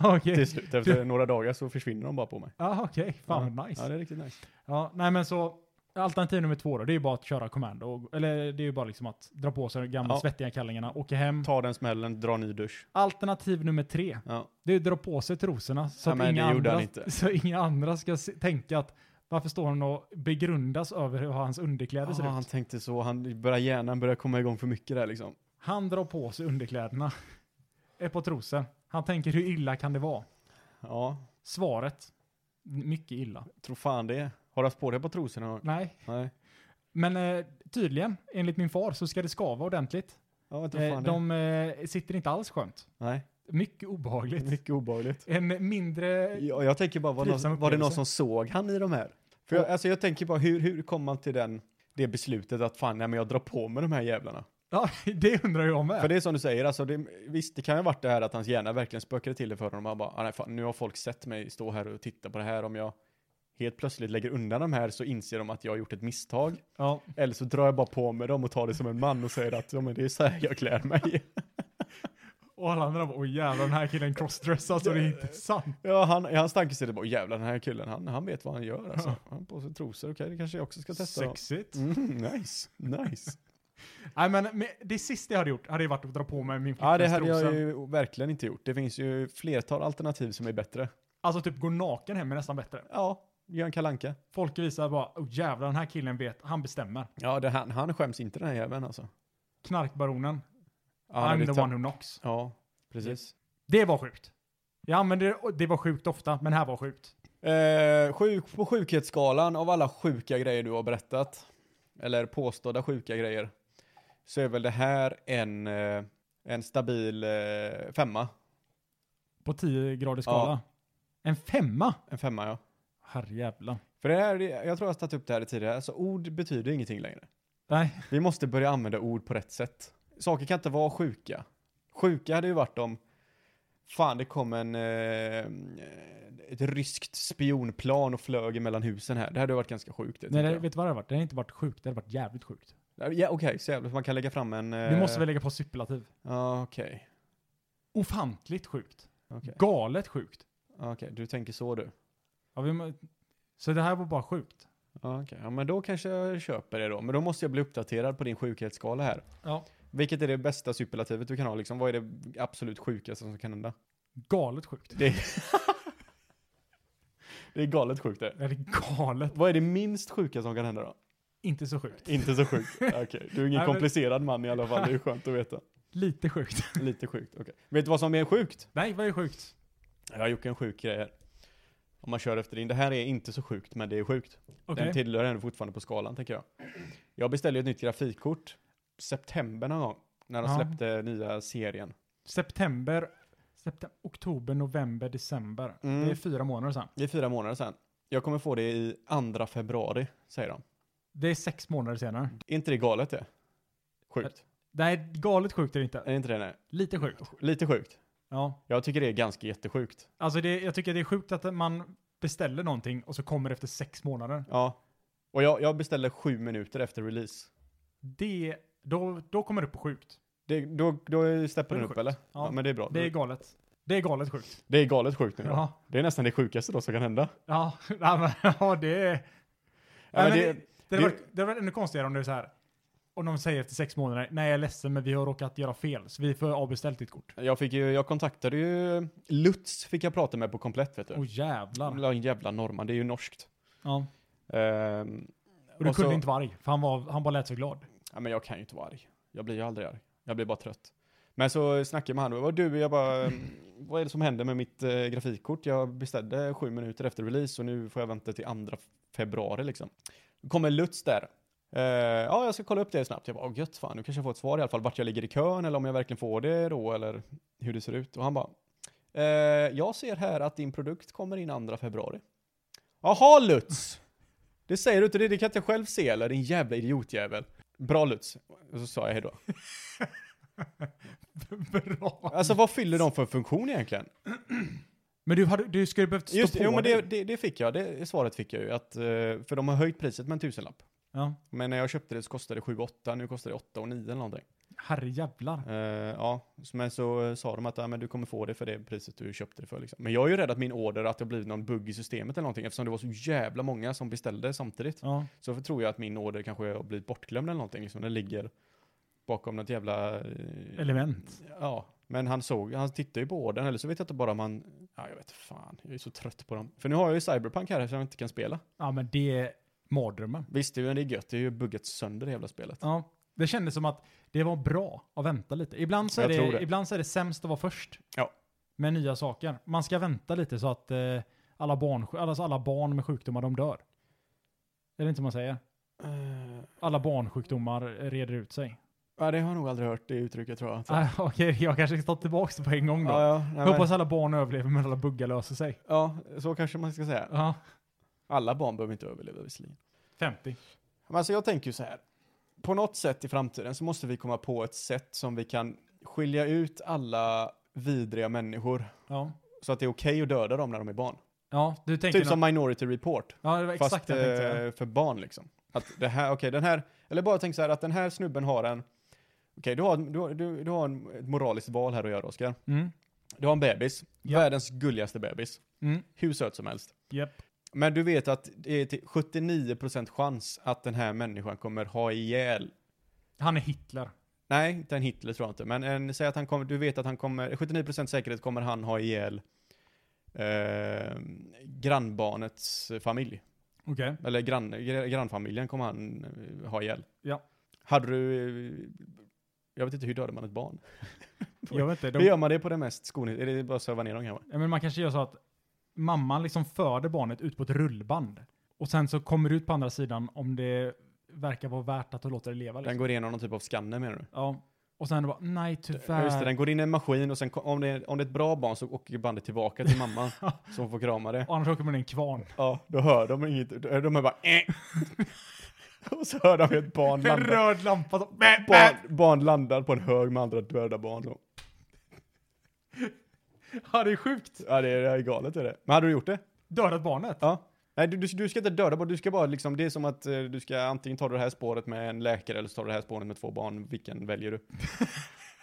Speaker 1: Okej.
Speaker 3: Till slut, efter några dagar så försvinner de bara på mig.
Speaker 1: Ja, okej. Fan vad nice.
Speaker 3: Ja,
Speaker 1: Ja,
Speaker 3: det är riktigt nice.
Speaker 1: nej men så, alternativ nummer två då, det är ju bara att köra kommando. och- Eller det är ju bara liksom att dra på sig de gamla
Speaker 3: Ja.
Speaker 1: svettiga kallingarna, åka hem.
Speaker 3: Ta den smällen, dra ny dusch.
Speaker 1: Alternativ nummer tre,
Speaker 3: Ja.
Speaker 1: det är att dra på sig trosorna så,
Speaker 3: Ja,
Speaker 1: att
Speaker 3: men
Speaker 1: inga
Speaker 3: det
Speaker 1: andra,
Speaker 3: gjorde han inte.
Speaker 1: så inga andra ska se, tänka att varför står han och begrundas över hur hans underkläder
Speaker 3: Ah,
Speaker 1: ser
Speaker 3: han
Speaker 1: ut?
Speaker 3: tänkte så, han börjar hjärnan börjar komma igång för mycket där liksom.
Speaker 1: Han drar på sig underkläderna, ett par trosor. Han tänker hur illa kan det vara?
Speaker 3: Ja,
Speaker 1: Svaret, mycket illa.
Speaker 3: tror fan det. Har du haft på dig på trosorna?
Speaker 1: Nej,
Speaker 3: Nej.
Speaker 1: Men eh, tydligen, enligt min far, så ska det skava ordentligt.
Speaker 3: Ja, inte
Speaker 1: Eh,
Speaker 3: fan det.
Speaker 1: de eh, sitter inte alls skönt.
Speaker 3: Nej,
Speaker 1: Mycket obehagligt.
Speaker 3: mycket obehagligt.
Speaker 1: En mindre...
Speaker 3: Jag, jag tänker bara, var,
Speaker 1: Trivsam
Speaker 3: någon, var det någon
Speaker 1: upplevelse.
Speaker 3: som såg han i de här? För jag,
Speaker 1: Ja.
Speaker 3: alltså jag tänker bara, hur, hur kom man till den, det beslutet att fan, nej men jag drar på mig de här jävlarna?
Speaker 1: Ja, det undrar jag med.
Speaker 3: För det är som du säger, alltså det, visst det kan ju ha varit det här att hans hjärna verkligen spökade till det för honom. Han bara, ah, nej fan, nu har folk sett mig stå här och titta på det här. Om jag helt plötsligt lägger undan de här så inser de att jag har gjort ett misstag.
Speaker 1: Ja,
Speaker 3: Eller så drar jag bara på mig dem och tar det som en man och säger att ja, men det är så här jag klär mig.
Speaker 1: och alla andra bara, åh jävlar den här killen crossdressar så det är inte sant.
Speaker 3: ja, han, i hans tankeställe bara, jävlar den här killen, han, han vet vad han gör alltså. Han har på sig trosor, okej det kanske jag också ska testa. då."
Speaker 1: Sexigt.
Speaker 3: Mm, nice, nice.
Speaker 1: Nej men men det sista jag hade gjort hade ju varit att dra på mig min
Speaker 3: ja, det
Speaker 1: flickväns
Speaker 3: hade
Speaker 1: trosor.
Speaker 3: jag ju verkligen inte gjort. Det finns ju flertal alternativ som är bättre.
Speaker 1: Alltså typ gå naken hem är nästan bättre.
Speaker 3: Ja, Göran Kalanka.
Speaker 1: Folk visar bara, oh jävlar den här killen vet, han bestämmer.
Speaker 3: Ja, det, han, han skäms inte den här jäveln alltså.
Speaker 1: Knarkbaronen,
Speaker 3: Ja,
Speaker 1: I'm
Speaker 3: det
Speaker 1: the
Speaker 3: tar-
Speaker 1: one who knocks.
Speaker 3: Ja, precis.
Speaker 1: Det var sjukt. Jag använde det, och det var sjukt ofta, men det här var sjukt.
Speaker 3: Eh, sjuk, på sjukhetsskalan av alla sjuka grejer du har berättat, eller påstådda sjuka grejer, så är väl det här en, eh, en stabil eh, femma.
Speaker 1: På 10 graders skala. En femma?
Speaker 3: En femma ja.
Speaker 1: Herrejävlar.
Speaker 3: För det här, jag tror jag har tagit upp det här tidigare, alltså ord betyder ingenting längre.
Speaker 1: Nej,
Speaker 3: Vi måste börja använda ord på rätt sätt. Saker kan inte vara sjuka. Sjuka hade ju varit om, fan det kom en, eh, ett ryskt spionplan och flög mellan husen här. Det hade ju varit ganska sjukt. Det,
Speaker 1: Nej
Speaker 3: tycker
Speaker 1: det,
Speaker 3: jag.
Speaker 1: vet du vad det hade varit? Det hade inte varit sjukt, det hade varit jävligt sjukt.
Speaker 3: Ja, Okej, så jävla, man kan lägga fram en... eh,
Speaker 1: Du måste väl lägga på superlativ.
Speaker 3: Ja, okej.
Speaker 1: Ofantligt sjukt.
Speaker 3: Okej.
Speaker 1: Galet sjukt.
Speaker 3: Ja, Okej, du tänker så du.
Speaker 1: Ja, vi, må- så det här var bara sjukt.
Speaker 3: Ja, Okej, ja men då kanske jag köper det då. Men då måste jag bli uppdaterad på din sjukhetsskala här.
Speaker 1: Ja.
Speaker 3: Vilket är det bästa superlativet du kan ha liksom? Vad är det absolut sjukaste som kan hända?
Speaker 1: Galet sjukt.
Speaker 3: Det är, det är galet sjukt det.
Speaker 1: Eller galet.
Speaker 3: Vad är det minst sjuka som kan hända då?
Speaker 1: Inte så sjukt.
Speaker 3: Inte så sjukt. Okej, du är ingen
Speaker 1: Nej, men-
Speaker 3: komplicerad man i alla fall. Det är ju skönt att veta.
Speaker 1: Lite sjukt.
Speaker 3: Lite sjukt, okej. Vet du vad som är sjukt?
Speaker 1: Nej, vad är sjukt?
Speaker 3: Jag har gjort en sjuk grej här. Om man kör efter din. Det här är inte så sjukt, men det är sjukt.
Speaker 1: Okej.
Speaker 3: Den tillhör ändå fortfarande på skalan, tänker jag. Jag beställde ju ett nytt grafikkort. September någon gång. När de
Speaker 1: Ja.
Speaker 3: släppte nya serien.
Speaker 1: September, septem- oktober, november, december.
Speaker 3: Mm.
Speaker 1: Det är fyra månader sedan.
Speaker 3: Det är fyra månader sedan. Jag kommer få det i andra februari, säger de.
Speaker 1: Det är sex månader senare.
Speaker 3: Är inte det galet det? Sjukt.
Speaker 1: Nej, galet sjukt är det inte.
Speaker 3: Är inte det nej?
Speaker 1: Lite sjukt.
Speaker 3: Lite sjukt.
Speaker 1: Ja.
Speaker 3: Jag tycker det är ganska jättesjukt.
Speaker 1: Alltså det, jag tycker det är sjukt att man beställer någonting och så kommer det efter sex månader.
Speaker 3: Ja. Och jag, jag beställde sju minuter efter release.
Speaker 1: Det, då, då kommer det upp på sjukt.
Speaker 3: Det, då, då steppar
Speaker 1: Då är
Speaker 3: den
Speaker 1: det
Speaker 3: upp
Speaker 1: sjukt.
Speaker 3: eller? Ja.
Speaker 1: Ja.
Speaker 3: men det är bra.
Speaker 1: Det är galet. Det är galet sjukt.
Speaker 3: det är galet sjukt nu. då.
Speaker 1: Ja.
Speaker 3: Det är nästan det sjukaste då som kan hända.
Speaker 1: Ja, ja, men, ja det är...
Speaker 3: Ja, men
Speaker 1: Nej,
Speaker 3: det-
Speaker 1: men det, det, hade
Speaker 3: det-
Speaker 1: varit, det hade varit ännu konstigare om det är så här. Om de säger efter sex månader, nej jag är ledsen men vi har råkat göra fel så vi får avbeställa ditt kort.
Speaker 3: Jag, fick ju, jag kontaktade ju Lutz, fick jag prata med på komplett vet du.
Speaker 1: Åh jävlar.
Speaker 3: Jävla, jävla norrman, det är ju norskt.
Speaker 1: Ja.
Speaker 3: Ehm,
Speaker 1: Och du
Speaker 3: och
Speaker 1: kunde
Speaker 3: så-
Speaker 1: inte vara arg, för han, var, han bara lät så glad.
Speaker 3: ja, men jag kan ju inte vara arg. Jag blir ju aldrig arg. Jag blir bara trött. Men så snackade jag med honom, vad du, jag bara, ehm, vad är det som händer med mitt eh, grafikkort? Jag beställde sju minuter efter release och nu får jag vänta till andra februari liksom. Då kommer Lutz där. Eh, ja, jag ska kolla upp det snabbt. Jag bara, åh gött fan, nu kanske jag får ett svar i alla fall vart jag ligger i kön eller om jag verkligen får det då eller hur det ser ut. Och han bara, eh, jag ser här att din produkt kommer in andra februari. Jaha Lutz! Det säger du inte, det, det kan inte jag själv se eller din jävla idiotjävel. Bra Lutz. Och så sa jag hejdå.
Speaker 1: Bra.
Speaker 3: Alltså vad fyller de för funktion egentligen?
Speaker 1: Men du, hade, du skulle behövt stå
Speaker 3: Just
Speaker 1: på
Speaker 3: det, jo, men det,
Speaker 1: dig.
Speaker 3: det, det fick jag. Det svaret fick jag ju. Att, eh, för de har höjt priset med en tusenlapp.
Speaker 1: Ja.
Speaker 3: Men när jag köpte det så kostade det 7-8, nu kostar det 8 och 9 eller någonting.
Speaker 1: Herrejävlar.
Speaker 3: Eh, ja, så- men så eh, sa de att ja, men du kommer få det för det priset du köpte det för. Liksom. Men jag är ju rädd att min order, att det har blivit någon bugg i systemet eller någonting. Eftersom det var så jävla många som beställde samtidigt.
Speaker 1: Ja.
Speaker 3: Så för- tror jag att min order kanske har blivit bortglömd eller någonting. Liksom. Den ligger bakom något jävla... eh,
Speaker 1: Element.
Speaker 3: Ja, men han såg, han tittade ju på orden, eller så vet jag inte bara om han, ja jag vet fan, jag är så trött på dem. För nu har jag ju Cyberpunk här som jag inte kan spela.
Speaker 1: Ja men det är mardrömmen.
Speaker 3: Visst, det är ju det är gött, det är ju buggat sönder det jävla spelet.
Speaker 1: Ja. Det kändes som att det var bra att vänta lite. Ibland så, är
Speaker 3: Jag
Speaker 1: det,
Speaker 3: tror det.
Speaker 1: Ibland så är det sämst att vara först.
Speaker 3: Ja.
Speaker 1: Med nya saker. Man ska vänta lite så att eh, alla, barn, alltså alla barn med sjukdomar de dör. Är det inte vad man säger?
Speaker 3: Eh,
Speaker 1: alla barnsjukdomar reder ut sig.
Speaker 3: Ja, det har jag nog aldrig hört det uttrycket tror jag. Så-
Speaker 1: Ah, Okej, jag kanske ska ta tillbaka det på en gång då.
Speaker 3: ja, ja, nej,
Speaker 1: jag
Speaker 3: men,
Speaker 1: hoppas alla barn överlever men alla buggar löser sig.
Speaker 3: ja, så kanske man ska säga.
Speaker 1: Ja,
Speaker 3: Alla barn behöver inte överleva visserligen.
Speaker 1: 50.
Speaker 3: Men alltså jag tänker ju så här. På något sätt i framtiden så måste vi komma på ett sätt som vi kan skilja ut alla vidriga människor
Speaker 1: Ja.
Speaker 3: så att det är okej att döda dem när de är barn.
Speaker 1: Ja, du tänker...
Speaker 3: Typ som Minority Report.
Speaker 1: ja, det var
Speaker 3: Fast
Speaker 1: exakt det jag tänkte. säga.
Speaker 3: eh, för barn liksom. Att det här, okej den här, eller bara tänk så här att den här snubben har en, okej du har, du, har- du, du har en, ett moraliskt val här att göra Oskar.
Speaker 1: Mm.
Speaker 3: Du har en bebis,
Speaker 1: Ja.
Speaker 3: världens gulligaste bebis,
Speaker 1: Mm.
Speaker 3: hur söt som helst.
Speaker 1: Japp.
Speaker 3: Men du vet att det är till 79% chans att den här människan kommer ha ihjäl
Speaker 1: Han är Hitler.
Speaker 3: Nej, inte en Hitler tror jag inte. Men en, säg att han kommer, du vet att han kommer, 79% säkerhet kommer han ha ihjäl eh, grannbarnets familj.
Speaker 1: Okej.
Speaker 3: Eller grann, gr- grannfamiljen kommer han eh, ha ihjäl.
Speaker 1: Ja.
Speaker 3: Hade du, eh, jag vet inte hur dödar man ett barn?
Speaker 1: Jag vet inte.
Speaker 3: Hur
Speaker 1: De,
Speaker 3: gör man det på det mest skonigt? Är det bara att söva ner dem kanske?
Speaker 1: ja, men man kanske gör så att mamman liksom föder barnet ut på ett rullband. Och sen så kommer det ut på andra sidan om det verkar vara värt att låta det leva.
Speaker 3: Den
Speaker 1: Liksom.
Speaker 3: går igenom någon typ av skanner menar du?
Speaker 1: Ja. Och sen bara, nej
Speaker 3: Ja,
Speaker 1: tyvärr.
Speaker 3: Just det, den går in i en maskin och sen ko- om det, är, om det är ett bra barn så åker bandet tillbaka till mamman. så hon får krama det.
Speaker 1: Och annars åker man i en kvarn.
Speaker 3: Ja, då hör de inget. då- De är bara eh. Och så hör de ett barn
Speaker 1: En
Speaker 3: landa.
Speaker 1: röd lampa som...
Speaker 3: Barn, barn landar på en hög med andra döda barn. då.
Speaker 1: Ja, det är sjukt.
Speaker 3: Ja, det är, det är galet är det. Men hade du gjort det?
Speaker 1: Dödat barnet.
Speaker 3: Ja. Nej, du, du, du ska inte döda barn. Du ska bara liksom, det är som att eh, du ska antingen ta det här spåret med en läkare eller så tar du det här spåret med två barn. Vilken väljer du?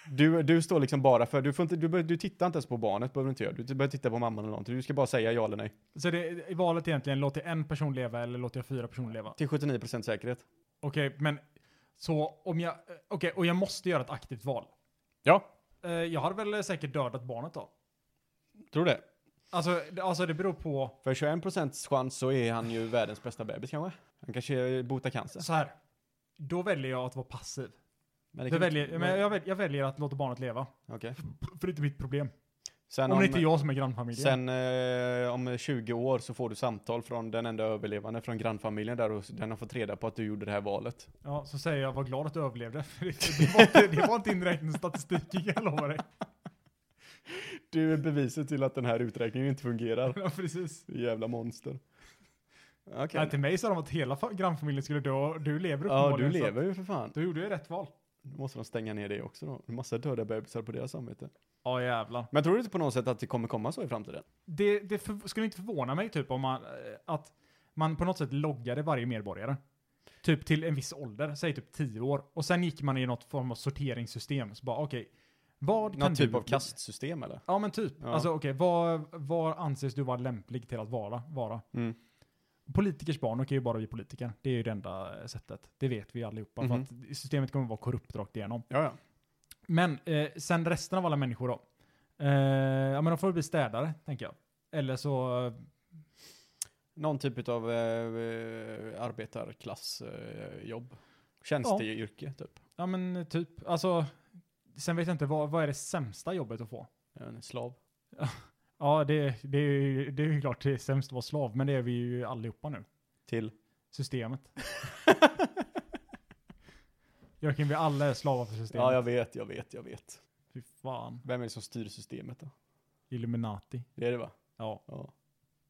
Speaker 3: Du, du står liksom bara för, du, får inte, du, behöver- du tittar inte ens på barnet, behöver du inte göra. Du behöver titta på mamman eller någonting. Du ska bara säga ja eller nej.
Speaker 1: Så det, i valet egentligen, låter jag en person leva eller låter jag fyra personer leva?
Speaker 3: Till 79% säkerhet.
Speaker 1: Okej, men så om jag... Okej, och jag måste göra ett aktivt val.
Speaker 3: Ja.
Speaker 1: Eh, Jag hade väl säkert dödat barnet då.
Speaker 3: Tror det.
Speaker 1: Alltså, det- alltså det beror på...
Speaker 3: För 21% chans så är han ju världens bästa bebis kanske. Han kanske botar cancer.
Speaker 1: Så här. Då väljer jag att vara passiv.
Speaker 3: Men
Speaker 1: Jag
Speaker 3: kan-
Speaker 1: väljer, men jag, väljer, jag väljer att låta barnet leva.
Speaker 3: Okej.
Speaker 1: För det är inte mitt problem.
Speaker 3: Sen,
Speaker 1: Om
Speaker 3: om,
Speaker 1: det inte är jag som är grannfamiljen.
Speaker 3: sen eh, om 20 år så får du samtal från den enda överlevande från grannfamiljen där och den har fått reda på att du gjorde det här valet.
Speaker 1: Ja, så säger jag var glad att du överlevde. För det, det, var, inte, det var inte inräknad statistik, kan jag lovar dig.
Speaker 3: Du är beviset till att den här uträkningen inte fungerar.
Speaker 1: Ja, precis.
Speaker 3: Jävla monster. Okej.
Speaker 1: Nej, till mig sa de att hela fa- grannfamiljen skulle dö och du lever
Speaker 3: Ja, du
Speaker 1: så att
Speaker 3: lever ju för fan.
Speaker 1: Då gjorde jag rätt val.
Speaker 3: Då måste de stänga ner det också då. Massa döda bebisar på deras samvete.
Speaker 1: Ja, jävlar.
Speaker 3: Men tror du inte på något sätt att det kommer komma så i framtiden?
Speaker 1: Det, det för, skulle inte förvåna mig typ om man, eh, att man på något sätt loggade varje medborgare. Typ till en viss ålder, säg typ 10 år. Och sen gick man i något form av sorteringssystem. Så bara okej, vad kan
Speaker 3: Någon typ
Speaker 1: du...
Speaker 3: av kastsystem eller?
Speaker 1: Ja men typ.
Speaker 3: Ja.
Speaker 1: Alltså okej, vad, vad anses du vara lämplig till att vara? vara?
Speaker 3: Mm.
Speaker 1: Politikers barn och är ju bara vi politiker. Det är ju det enda eh, sättet. Det vet vi allihopa.
Speaker 3: Mhm.
Speaker 1: För att systemet kommer vara korrupt rakt igenom.
Speaker 3: Ja, ja.
Speaker 1: Men eh, sen resten av alla människor då? Eh, ja men de får väl bli städare, tänker jag. Eller så eh,
Speaker 3: Någon typ av eh, arbetarklassjobb. Tjänsteyrke typ.
Speaker 1: Ja men typ, alltså. Sen vet jag inte, vad, vad är det sämsta jobbet att få?
Speaker 3: En slav.
Speaker 1: Ja, det, det, är ju- det är ju klart det är sämst att vara slav, men det är vi ju allihopa nu.
Speaker 3: Till.
Speaker 1: Systemet. Joakim, vi alla är slavar för systemet.
Speaker 3: Ja, jag vet, jag vet, jag vet.
Speaker 1: Fy fan.
Speaker 3: Vem är det som styr systemet då?
Speaker 1: Illuminati.
Speaker 3: Det är det va?
Speaker 1: Ja.
Speaker 3: Ja.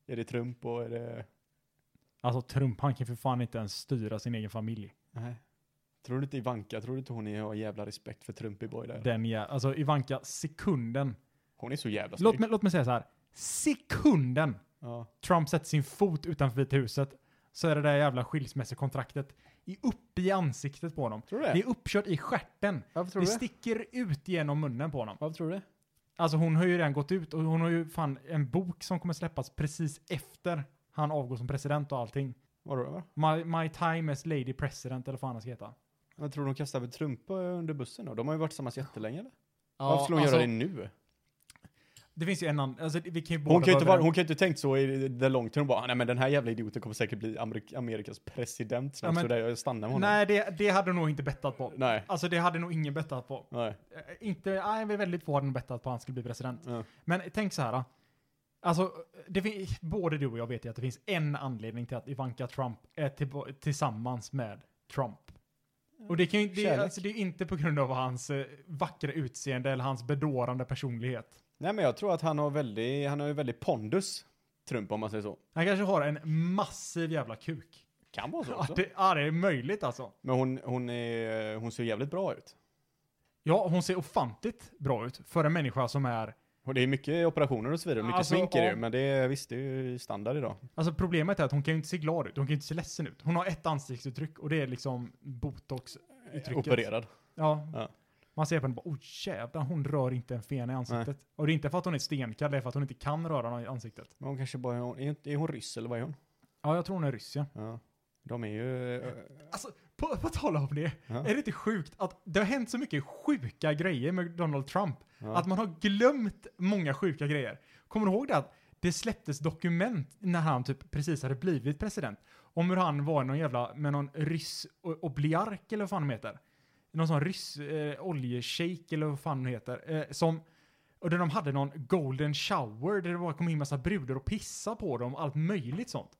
Speaker 3: Är det Trump och är det...
Speaker 1: Alltså Trump, han kan för fan inte ens styra sin egen familj.
Speaker 3: Nej. Tror du inte Ivanka, tror du inte hon är, har jävla respekt för Trump i boy där?
Speaker 1: Den jä- Alltså Ivanka, sekunden.
Speaker 3: Hon är så jävla
Speaker 1: Låt
Speaker 3: snygg.
Speaker 1: mig, låt mig säga så här. Sekunden
Speaker 3: Ja.
Speaker 1: Trump sätter sin fot utanför Vita huset så är det där jävla skilsmässokontraktet i upp i ansiktet på honom.
Speaker 3: Tror du
Speaker 1: Det är uppkört i stjärten.
Speaker 3: Varför
Speaker 1: Det sticker ut genom munnen på honom.
Speaker 3: Varför tror du det?
Speaker 1: Alltså hon har ju redan gått ut och hon har ju fan en bok som kommer släppas precis efter han avgår som president och allting.
Speaker 3: Vadå? Va?
Speaker 1: My, my time as lady president eller vad fan han ska heta.
Speaker 3: Jag tror de kastar väl Trump eh, under bussen då? De har ju varit tillsammans jättelänge eller? Varför skulle hon göra det nu?
Speaker 1: Det finns ju en annan, alltså vi kan ju båda
Speaker 3: Hon kan, ju inte
Speaker 1: vara
Speaker 3: vara, hon kan ju inte tänkt så i the long term bara, nej men den här jävla idioten kommer säkert bli Amerik Amerikas president snart
Speaker 1: Ja, men-
Speaker 3: så där jag stannar med honom.
Speaker 1: Nej, det, det hade hon nog inte bettat på.
Speaker 3: Nej.
Speaker 1: Alltså det hade nog ingen bettat på.
Speaker 3: Nej.
Speaker 1: Eh, Inte, nej, men väldigt få hade nog bettat på att han skulle bli president.
Speaker 3: Ja.
Speaker 1: Men tänk så här. eh, Alltså, det fin- både du och jag vet ju att det finns en anledning till att Ivanka Trump är till- tillsammans med Trump. Och det, kan ju, det, är-
Speaker 3: Kärlek.
Speaker 1: alltså, det är inte på grund av hans eh, vackra utseende eller hans bedårande personlighet.
Speaker 3: Nej men jag tror att han har väldigt, han har ju väldigt pondus, Trump om man säger så.
Speaker 1: Han kanske har en massiv jävla kuk.
Speaker 3: Kan vara så
Speaker 1: Ja,
Speaker 3: också.
Speaker 1: det, ja, det är möjligt alltså.
Speaker 3: Men hon, hon, är, hon ser jävligt bra ut.
Speaker 1: Ja, hon ser ofantligt bra ut för en människa som är...
Speaker 3: Och det är mycket operationer och så vidare, mycket
Speaker 1: Alltså,
Speaker 3: smink är det ju,
Speaker 1: om-
Speaker 3: men det är, visst, det är ju standard idag.
Speaker 1: Alltså problemet är att hon kan ju inte se glad ut, hon kan ju inte se ledsen ut. Hon har ett ansiktsuttryck och det är liksom botox-uttrycket.
Speaker 3: Opererad.
Speaker 1: Ja.
Speaker 3: Ja.
Speaker 1: Man ser på henne och bara, oh jävlar, hon rör inte en fen i ansiktet. Och det är inte för att hon är stenkall, det är för att hon inte kan röra någon i ansiktet.
Speaker 3: Men hon kanske bara, är hon, är inte- är hon ryss eller vad är hon?
Speaker 1: Ja, jag tror hon är ryss ja.
Speaker 3: Ja. De är ju... eh,
Speaker 1: Alltså, på, på tal om det,
Speaker 3: Ja.
Speaker 1: är det inte sjukt att det har hänt så mycket sjuka grejer med Donald Trump?
Speaker 3: Ja.
Speaker 1: Att man har glömt många sjuka grejer. Kommer du ihåg det att det släpptes dokument när han typ precis hade blivit president? Om hur han var någon jävla, med någon ryss o- obliark eller vad fan de heter. Någon sån ryss eh, oljeshejk eller vad fan de heter. Eh, som, och där de hade någon golden shower där det bara kom in massa brudar och pissa på dem, allt möjligt sånt.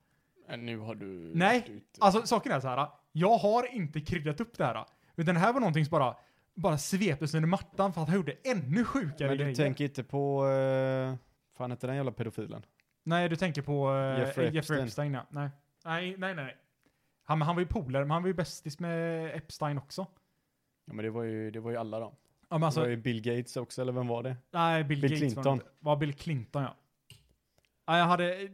Speaker 3: Men Äh, Nu har du... varit
Speaker 1: Nej,
Speaker 3: ute.
Speaker 1: alltså saken är så här. Jag har inte kryddat upp det här. Utan det här var någonting som bara, bara sveptes under mattan för att han gjorde ännu sjukare
Speaker 3: Men
Speaker 1: grejer.
Speaker 3: du tänker inte på... Uh, fan hette den jävla pedofilen?
Speaker 1: Nej, du tänker på eh,
Speaker 3: Jeffrey
Speaker 1: Jeffrey,
Speaker 3: Epstein.
Speaker 1: Epstein. ja. Nej, nej, nej. nej. Han, men han var ju polare, men han var ju bästis med Epstein också.
Speaker 3: Ja men det var ju, det var ju alla dem.
Speaker 1: Ja, men
Speaker 3: Det var
Speaker 1: alltså,
Speaker 3: ju Bill Gates också, eller vem var det?
Speaker 1: nej, Bill,
Speaker 3: Bill
Speaker 1: Gates var
Speaker 3: Clinton.
Speaker 1: inte- Var Bill Clinton, ja. ja. Jag hade, eh,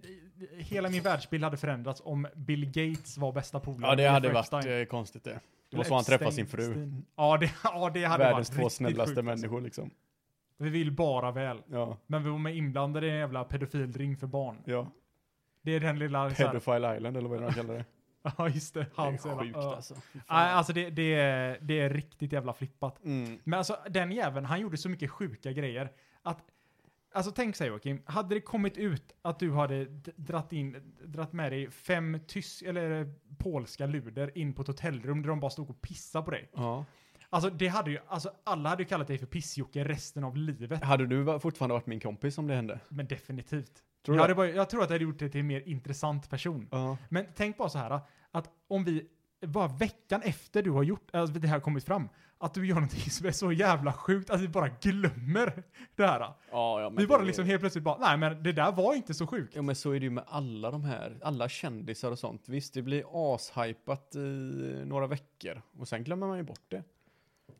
Speaker 1: hela min världsbild hade förändrats om Bill Gates var bästa polare
Speaker 3: Ja det
Speaker 1: med
Speaker 3: hade
Speaker 1: Jeffrey
Speaker 3: varit
Speaker 1: Epstein.
Speaker 3: eh, konstigt det. Det
Speaker 1: Eller
Speaker 3: var så han träffade sin
Speaker 1: Epstein,
Speaker 3: fru.
Speaker 1: Epstein. Ja, det, ja, det hade
Speaker 3: Världens
Speaker 1: varit
Speaker 3: två
Speaker 1: riktigt
Speaker 3: snällaste
Speaker 1: sjukt, alltså.
Speaker 3: människor liksom.
Speaker 1: Vi vill bara väl.
Speaker 3: Ja,
Speaker 1: Men vi var med inblandade i en jävla pedofilring för barn.
Speaker 3: ja.
Speaker 1: Det är den lilla... så här-
Speaker 3: Pedophile Island eller vad är det de kallar det.
Speaker 1: Ja, just det. Hans
Speaker 3: det är
Speaker 1: jävla
Speaker 3: sjukt
Speaker 1: ö.
Speaker 3: alltså. Fy fan.
Speaker 1: Nej, alltså det, det, är, det är riktigt jävla flippat.
Speaker 3: Mm.
Speaker 1: Men alltså den jäveln, han gjorde så mycket sjuka grejer att... Alltså tänk sig Joakim, hade det kommit ut att du hade d- dratt in, dratt med dig fem tysk, eller eh, polska luder in på ett hotellrum där de bara stod och pissade på dig.
Speaker 3: Ja.
Speaker 1: Alltså det hade ju, alltså alla hade ju kallat dig för pissjocke resten av livet.
Speaker 3: Hade du va- fortfarande varit min kompis om det hände?
Speaker 1: Men definitivt.
Speaker 3: Tror
Speaker 1: jag,
Speaker 3: du det?
Speaker 1: hade bara, jag tror att det hade gjort dig till en mer intressant person.
Speaker 3: Ja.
Speaker 1: Men tänk bara så här, att om vi, bara veckan efter du har gjort, alltså det här kommit fram, att du gör någonting som är så jävla sjukt att vi bara glömmer det här.
Speaker 3: Ja, ja men
Speaker 1: vi bara
Speaker 3: det-
Speaker 1: liksom helt plötsligt bara, nej men det där var inte så sjukt.
Speaker 3: Ja men så är det ju med alla de här, alla kändisar och sånt. Visst, det blir ashypat i några veckor och sen glömmer man ju bort det.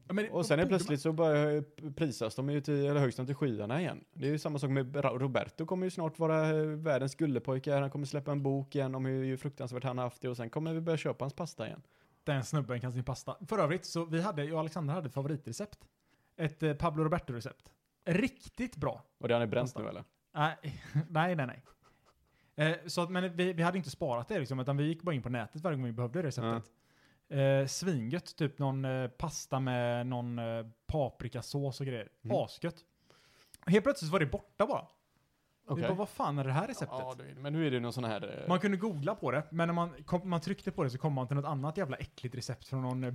Speaker 1: Ja, men-
Speaker 3: Och sen är
Speaker 1: borde
Speaker 3: plötsligt så börjar prisas de ju till, eller högst till skyarna igen. Det är ju samma sak med Ra- Roberto kommer ju snart vara eh, världens gullepojke här. Han kommer släppa en bok igen om hur, hur fruktansvärt han har haft det och sen kommer vi börja köpa hans pasta igen.
Speaker 1: man- Den snubben kan sin pasta. För övrigt så vi hade, jag och Alexander hade ett favoritrecept. Ett eh, Pablo Roberto-recept. Riktigt bra.
Speaker 3: Och det han är bränt
Speaker 1: Pasta.
Speaker 3: nu eller?
Speaker 1: Nej, nej, nej. nej. Eh, så att, men vi, vi hade inte sparat det liksom, utan vi gick bara in på nätet varje gång vi behövde receptet. Eh, svingött, typ någon eh, pasta med någon eh, paprikasås och grejer.
Speaker 3: Mm.
Speaker 1: Asgött. Helt plötsligt var det borta bara. Vi
Speaker 3: Okej.
Speaker 1: bara, vad fan är det här receptet?
Speaker 3: Ja, det är- men nu är det ju någon sån här... eh,
Speaker 1: Man kunde googla på det, men när man, kom, man tryckte på det så kom man till något annat jävla äckligt recept från någon eh,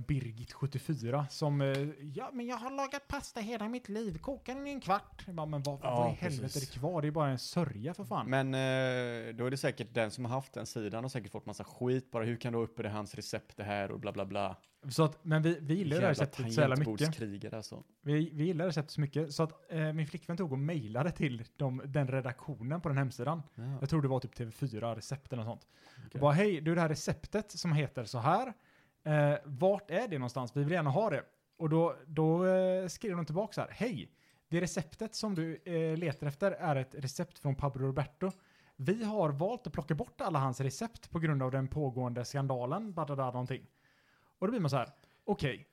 Speaker 1: Birgit74 som eh, Ja, men jag har lagat pasta hela mitt liv, kokar den i en kvart. Jag Bara, men vad,
Speaker 3: Ja,
Speaker 1: vad i
Speaker 3: precis.
Speaker 1: helvete är det kvar? Det är bara en sörja för fan.
Speaker 3: Men eh, då är det säkert den som har haft den sidan och säkert fått massa skit bara. Hur kan du ha uppe det hans recept det här och bla bla bla.
Speaker 1: Så att, men vi, vi gillar det här receptet så jävla mycket.
Speaker 3: tangentbordskrigare alltså.
Speaker 1: Vi, vi gillar receptet så mycket så att eh, min flickvän tog och mejlade till dem, den redaktionen på den hemsidan.
Speaker 3: Ja.
Speaker 1: Jag tror det var typ TV4 recept eller något sånt.
Speaker 3: Okej.
Speaker 1: Och bara hej, du det här receptet som heter så här. Eh, vart är det någonstans? Vi vill gärna ha det. Och då, då eh, skrev de tillbaka så här. Hej, det receptet som du eh, letar efter är ett recept från Pablo Roberto. Vi har valt att plocka bort alla hans recept på grund av den pågående skandalen. Badada, någonting. Och då blir man så här. Okej,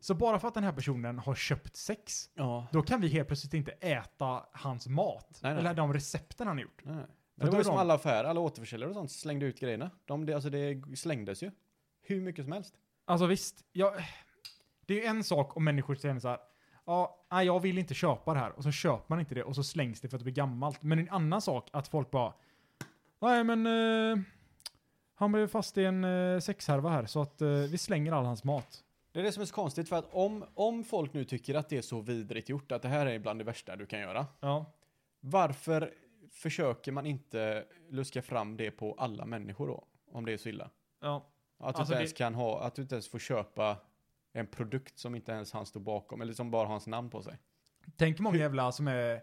Speaker 1: så bara för att den här personen har köpt sex,
Speaker 3: ja.
Speaker 1: då kan vi helt plötsligt inte äta hans mat.
Speaker 3: Nej, nej.
Speaker 1: Eller de recepten han har gjort.
Speaker 3: Nej.
Speaker 1: då
Speaker 3: Det var
Speaker 1: är
Speaker 3: ju som
Speaker 1: de-
Speaker 3: alla affärer, alla återförsäljare och sånt slängde ut grejerna. De, det, alltså det slängdes ju. Hur mycket som helst.
Speaker 1: Alltså visst, jag, det är ju en sak om människor säger så här. Ja, nej, jag vill inte köpa det här. Och så köper man inte det och så slängs det för att det blir gammalt. Men en annan sak att folk bara. Nej men. Eh, han blev fast i en eh, sexhärva här så att eh, vi slänger all hans mat.
Speaker 3: Det är det som är så konstigt för att om, om folk nu tycker att det är så vidrigt gjort, att det här är bland det värsta du kan göra.
Speaker 1: Ja.
Speaker 3: Varför försöker man inte luska fram det på alla människor då? Om det är så illa.
Speaker 1: ja.
Speaker 3: Att du
Speaker 1: Alltså,
Speaker 3: inte
Speaker 1: det-
Speaker 3: ens kan ha, att du inte ens får köpa en produkt som inte ens han stod bakom, eller som bara har hans namn på sig.
Speaker 1: Tänk hur många jävla som är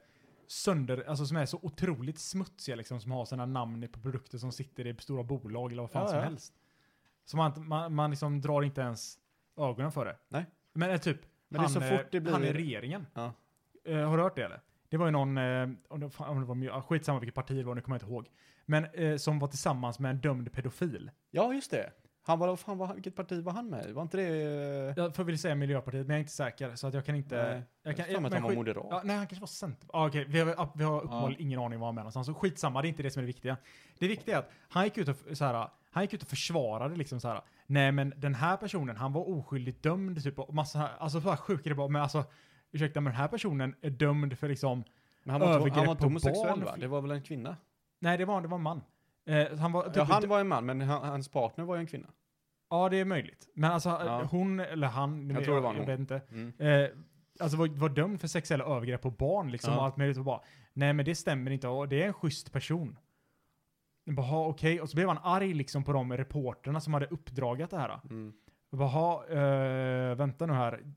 Speaker 1: sönder, alltså som är så otroligt smutsiga liksom, som har sina namn på produkter som sitter i stora bolag eller vad fan
Speaker 3: Ja,
Speaker 1: som
Speaker 3: ja.
Speaker 1: helst. Så man, inte- man, man liksom drar inte ens ögonen för det.
Speaker 3: Nej.
Speaker 1: Men eh, typ,
Speaker 3: Men det är
Speaker 1: han,
Speaker 3: så
Speaker 1: eh,
Speaker 3: fort det blir...
Speaker 1: han i regeringen.
Speaker 3: Ja.
Speaker 1: Eh, har du hört det eller? Det var ju någon, eh, om det, fan, om det var, mj- ah, skitsamma vilket parti det var, nu kommer jag inte ihåg. Men eh, som var tillsammans med en dömd pedofil.
Speaker 3: ja, just det. Han var, vad fan, var, han- vilket parti var han med i? Var inte det... eh,
Speaker 1: Jag får väl säga Miljöpartiet, men jag är inte säker. Så att jag kan inte...
Speaker 3: Nej.
Speaker 1: jag kan,
Speaker 3: Jag har för mig att
Speaker 1: men
Speaker 3: han var
Speaker 1: skit-
Speaker 3: moderat.
Speaker 1: Ja, nej, han kanske var center. Ah, okej, vi har, vi har uppenbarligen
Speaker 3: Ja.
Speaker 1: ingen aning om vad han menar någonstans. Så skitsamma, det är inte det som är det viktiga. Det viktiga är att han gick ut och, f- så här, han gick ut och försvarade liksom så här. Nej, men den här personen, han var oskyldigt dömd typ. Och massa, alltså så här sjuka det bara. Men alltså, ursäkta, men den här personen är dömd för liksom...
Speaker 3: Men han var, inte- han
Speaker 1: Övergrepp
Speaker 3: var inte
Speaker 1: på
Speaker 3: homosexuell
Speaker 1: barn.
Speaker 3: va? Det var väl en kvinna?
Speaker 1: Nej, det var, det var en man. Eh, han var typ
Speaker 3: Ja, han var en man, men han, hans partner var ju en kvinna.
Speaker 1: ja, det är möjligt. Men alltså,
Speaker 3: Ja.
Speaker 1: hon eller han,
Speaker 3: Jag tror det var
Speaker 1: jag
Speaker 3: hon.
Speaker 1: vet inte.
Speaker 3: Mm.
Speaker 1: eh, alltså var, var dömd för sexuella övergrepp på barn liksom
Speaker 3: Ja.
Speaker 1: och allt möjligt och bara nej men det stämmer inte och det är en schysst person. Jag Bara, "Ha, okej. Och så blev han arg liksom på de reporterna som hade uppdragat det här.
Speaker 3: Mm.
Speaker 1: Jag Bara, "Ha, eh, vänta nu här.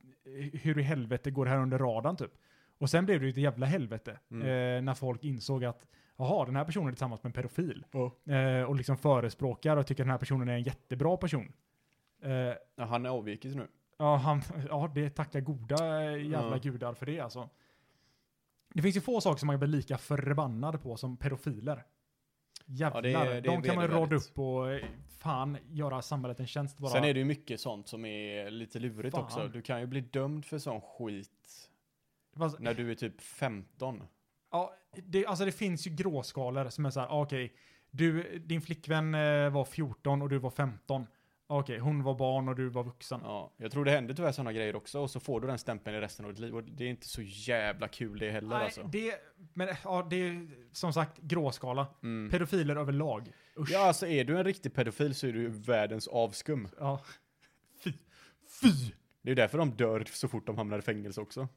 Speaker 1: Hur i helvete går det här under radarn typ? Och sen blev det ju ett jävla helvete
Speaker 3: Mm.
Speaker 1: eh, när folk insåg att jaha, den här personen är tillsammans med en pedofil.
Speaker 3: Ja.
Speaker 1: Eh, och liksom förespråkar och tycker den här personen är en jättebra person. Eh,
Speaker 3: Ja, han är avvikit nu.
Speaker 1: Ja, han, ja det tackar goda eh, jävla
Speaker 3: Ja.
Speaker 1: gudar för det alltså. Det finns ju få saker som man blir lika förbannad på som pedofiler. Jävlar,
Speaker 3: det är- det är
Speaker 1: de kan man rada
Speaker 3: vedervärdigt.
Speaker 1: upp och eh, fan göra samhället en tjänst bara.
Speaker 3: Sen är det ju mycket sånt som är lite lurigt
Speaker 1: Fan.
Speaker 3: också. Du kan ju bli dömd för sån skit
Speaker 1: Fast-
Speaker 3: när du är typ 15.
Speaker 1: Ja, det, alltså det finns ju gråskalor som är så här, ah, okej, du, din flickvän eh, var 14 och du var 15. Ah, Okej, hon var barn och du var vuxen.
Speaker 3: Ja, jag tror det händer tyvärr sådana grejer också och så får du den stämpeln i resten av ditt liv och det är inte så jävla kul det heller
Speaker 1: Nej,
Speaker 3: alltså.
Speaker 1: det, men eh, ja, det är som sagt gråskala.
Speaker 3: Mm.
Speaker 1: Pedofiler överlag. Usch.
Speaker 3: Ja, alltså är du en riktig pedofil så är du ju världens avskum.
Speaker 1: Ja. Fy. Fy!
Speaker 3: Det är ju därför de dör så fort de hamnar i fängelse också.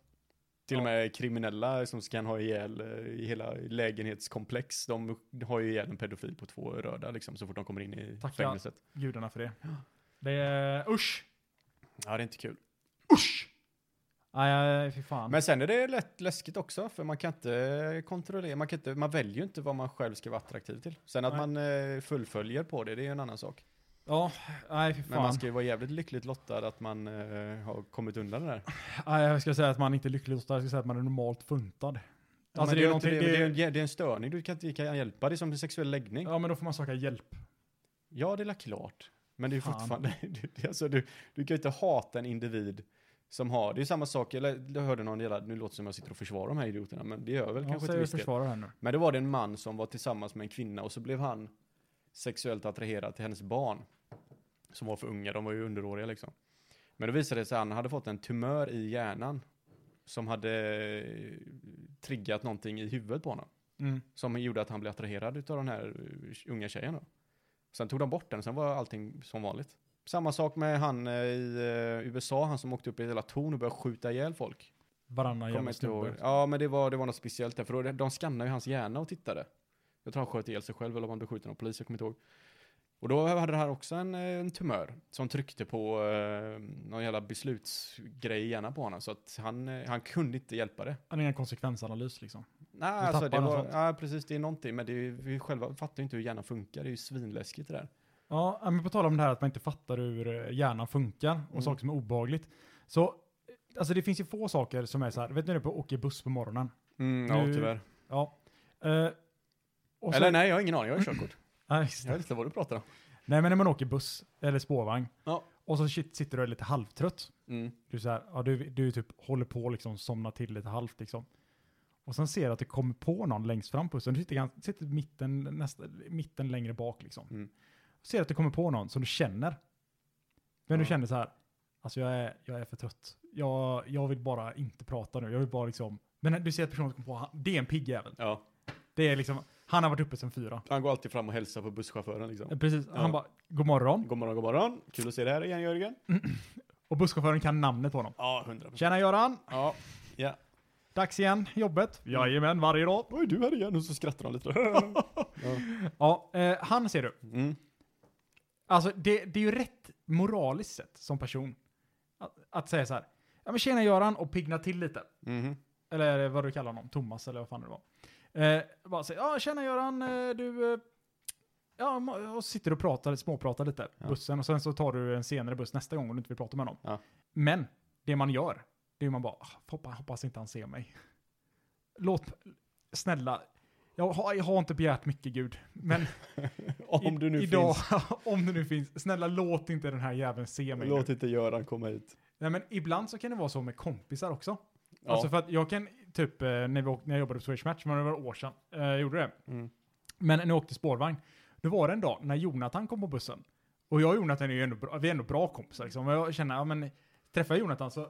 Speaker 3: Till och
Speaker 1: Ja.
Speaker 3: med kriminella som kan ha ihjäl eh, i hela lägenhetskomplex, de har ju ihjäl en pedofil på två röda liksom så fort de kommer in i
Speaker 1: Tacka.
Speaker 3: fängelset.
Speaker 1: gudarna för det. Det är... Usch!
Speaker 3: Ja, det är inte kul.
Speaker 1: Usch! Nej, fy fan.
Speaker 3: Men sen är det lätt läskigt också, för man kan inte kontrollera, man, kan inte, man väljer ju inte vad man själv ska vara attraktiv till. Sen att
Speaker 1: Nej.
Speaker 3: man eh, fullföljer på det, det är ju en annan sak.
Speaker 1: Ja, nej fy fan.
Speaker 3: Men man ska ju vara jävligt lyckligt lottad att man eh, har kommit undan det där.
Speaker 1: Alltså, Nej, jag ska säga att man inte är lycklig lottad, jag ska säga att man är normalt funtad.
Speaker 3: Men
Speaker 1: alltså det är,
Speaker 3: ju inte
Speaker 1: någonting... Det,
Speaker 3: det, det, är en, jä- det är en störning, du kan inte kan hjälpa det är som en sexuell läggning. Ja,
Speaker 1: ja, men då får man söka hjälp.
Speaker 3: det är väl klart. Men det är ju
Speaker 1: Fan.
Speaker 3: fortfarande, du, det- alltså, du, du kan ju inte hata en individ som har, det är ju samma sak, eller jag hörde någon jävla, nu låter det som jag sitter och försvarar de här idioterna, men det gör jag väl
Speaker 1: Jag
Speaker 3: kanske till
Speaker 1: säger
Speaker 3: viss del.
Speaker 1: försvara här nu.
Speaker 3: Men då var det en man som var tillsammans med en kvinna och så blev han sexuellt attraherad till hennes barn. Som var för unga, de var ju underåriga liksom. Men då visade det sig att han hade fått en tumör i hjärnan. Som hade eh, triggat någonting i huvudet på honom.
Speaker 1: Mm.
Speaker 3: Som gjorde att han blev attraherad utav den här eh, unga tjejen då. Sen tog de bort den, sen var allting som vanligt. Samma sak med han eh, i eh, USA, han som åkte upp i ett jävla torn och började skjuta ihjäl folk.
Speaker 1: Varannan
Speaker 3: Kommer
Speaker 1: jävla
Speaker 3: inte ihåg.
Speaker 1: snubbe.
Speaker 3: Ja, men det var, det var något speciellt där, för då, de skannade ju hans hjärna och tittade. Jag tror han sköt ihjäl sig själv eller om han blev skjuten av polis, jag kommer inte ihåg. Och då hade han också en, eh, en tumör som tryckte på eh, någon jävla beslutsgrej i hjärnan på honom, så att han, eh, han kunde inte hjälpa det.
Speaker 1: Han har ingen konsekvensanalys liksom.
Speaker 3: Nej, alltså det
Speaker 1: tappade
Speaker 3: var,
Speaker 1: något sånt.
Speaker 3: ja, precis, det är någonting, men det är, vi själva fattar ju inte hur hjärnan funkar, det är ju svinläskigt det där.
Speaker 1: Ja, ja, men på tal om det här att man inte fattar hur eh, hjärnan funkar och
Speaker 3: Mm.
Speaker 1: saker som är obehagligt. Så, eh, alltså det finns ju få saker som är så här, vet ni när du åker buss på morgonen?
Speaker 3: Mm,
Speaker 1: ja, tyvärr. Ja. Eh, och så-
Speaker 3: Eller nej, jag har ingen aning, jag har körkort.
Speaker 1: Nej, just det.
Speaker 3: Jag vet inte vad du pratar om.
Speaker 1: Nej, men när man åker buss eller spårvagn
Speaker 3: Ja.
Speaker 1: och så shit, sitter du och är lite halvtrött.
Speaker 3: Mm.
Speaker 1: Du, är så här, ja, du, du typ håller på och liksom somnar till lite halvt liksom. Och sen ser du att det kommer på någon längst fram på bussen. Du sitter, gans- sitter mitten, nästa, mitten längre bak liksom.
Speaker 3: Mm.
Speaker 1: Ser att det kommer på någon som du känner. Men du
Speaker 3: Ja.
Speaker 1: känner så här, alltså jag är, jag är för trött. Jag, jag vill bara inte prata nu. Jag vill bara liksom, men när du ser att personen kommer på, han- det är en pigg jävel.
Speaker 3: Ja,
Speaker 1: Det är liksom, han har varit uppe sedan fyra.
Speaker 3: han går alltid fram och hälsar på busschauffören liksom.
Speaker 1: Precis, han
Speaker 3: Ja.
Speaker 1: bara, god morgon.
Speaker 3: God morgon, god morgon. Kul att se dig här igen Jörgen.
Speaker 1: Och busschauffören kan namnet på honom.
Speaker 3: Ja, hundra procent.
Speaker 1: Tjena Göran!
Speaker 3: Ja, ja.
Speaker 1: Dags igen, jobbet. Jajamän, varje dag.
Speaker 3: Vad är du här igen? Och så skrattar han lite.
Speaker 1: Ja, eh, han ser du.
Speaker 3: mm.
Speaker 1: Alltså det, det är ju rätt moraliskt sett som person. Att- Att säga så här, ja men tjena Göran och pigna till lite.
Speaker 3: Mhm.
Speaker 1: Eller vad du kallar honom, Thomas eller vad fan det var. Eh, bara säger, ja tjena Göran, eh, du... Eh, ja, ma- och sitter och pratar, småpratar lite,
Speaker 3: Ja.
Speaker 1: bussen. Och sen så tar du en senare buss nästa gång om du inte vill prata med honom.
Speaker 3: Ja.
Speaker 1: Men, det man gör, det är man bara, "Ah, hoppas, hoppas inte han ser mig. Låt, snälla, jag har, jag har inte begärt mycket Gud, men
Speaker 3: Om
Speaker 1: i-
Speaker 3: du nu
Speaker 1: idag,
Speaker 3: finns.
Speaker 1: om du nu finns, snälla låt inte den här jäveln se mig.
Speaker 3: Låt
Speaker 1: nu.
Speaker 3: inte Göran komma hit.
Speaker 1: Nej men ibland så kan det vara så med kompisar också.
Speaker 3: Ja.
Speaker 1: Alltså för att jag kan, typ eh, när, vi åkte, när jag jobbade på Swedish Match, men det var några år sedan, eh, jag gjorde det.
Speaker 3: Mm.
Speaker 1: Men när jag åkte spårvagn, då var det en dag när Jonathan kom på bussen. Och jag och Jonathan är ju ändå bra, vi är ändå bra kompisar liksom. Och jag känner, ja men träffar jag Jonathan så,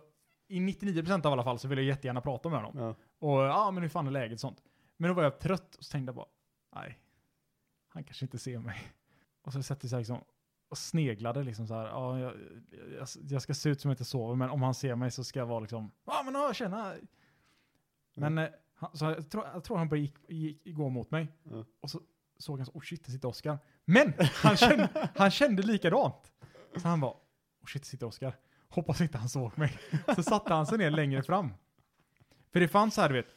Speaker 1: i 99% av alla fall så vill jag jättegärna prata med honom.
Speaker 3: Ja.
Speaker 1: Och ja men hur fan är läget och sånt. Men då var jag trött och så tänkte jag bara, nej, han kanske inte ser mig. Och så sätter jag så här liksom, och sneglade liksom så här, ja jag, jag, jag ska se ut som jag inte sover men om han ser mig så ska jag vara liksom, ja men ja tjena. Men eh, han, så jag, tror, jag tror han bara gick, gick gå mot mig.
Speaker 3: Ja.
Speaker 1: Och så såg han så, oh shit, det sitter Oskar. Men han kände, han kände likadant. Så han var, oh shit, det sitter Oskar. Hoppas inte han såg mig. Så satte han sig ner längre fram. För det fanns så här, du vet,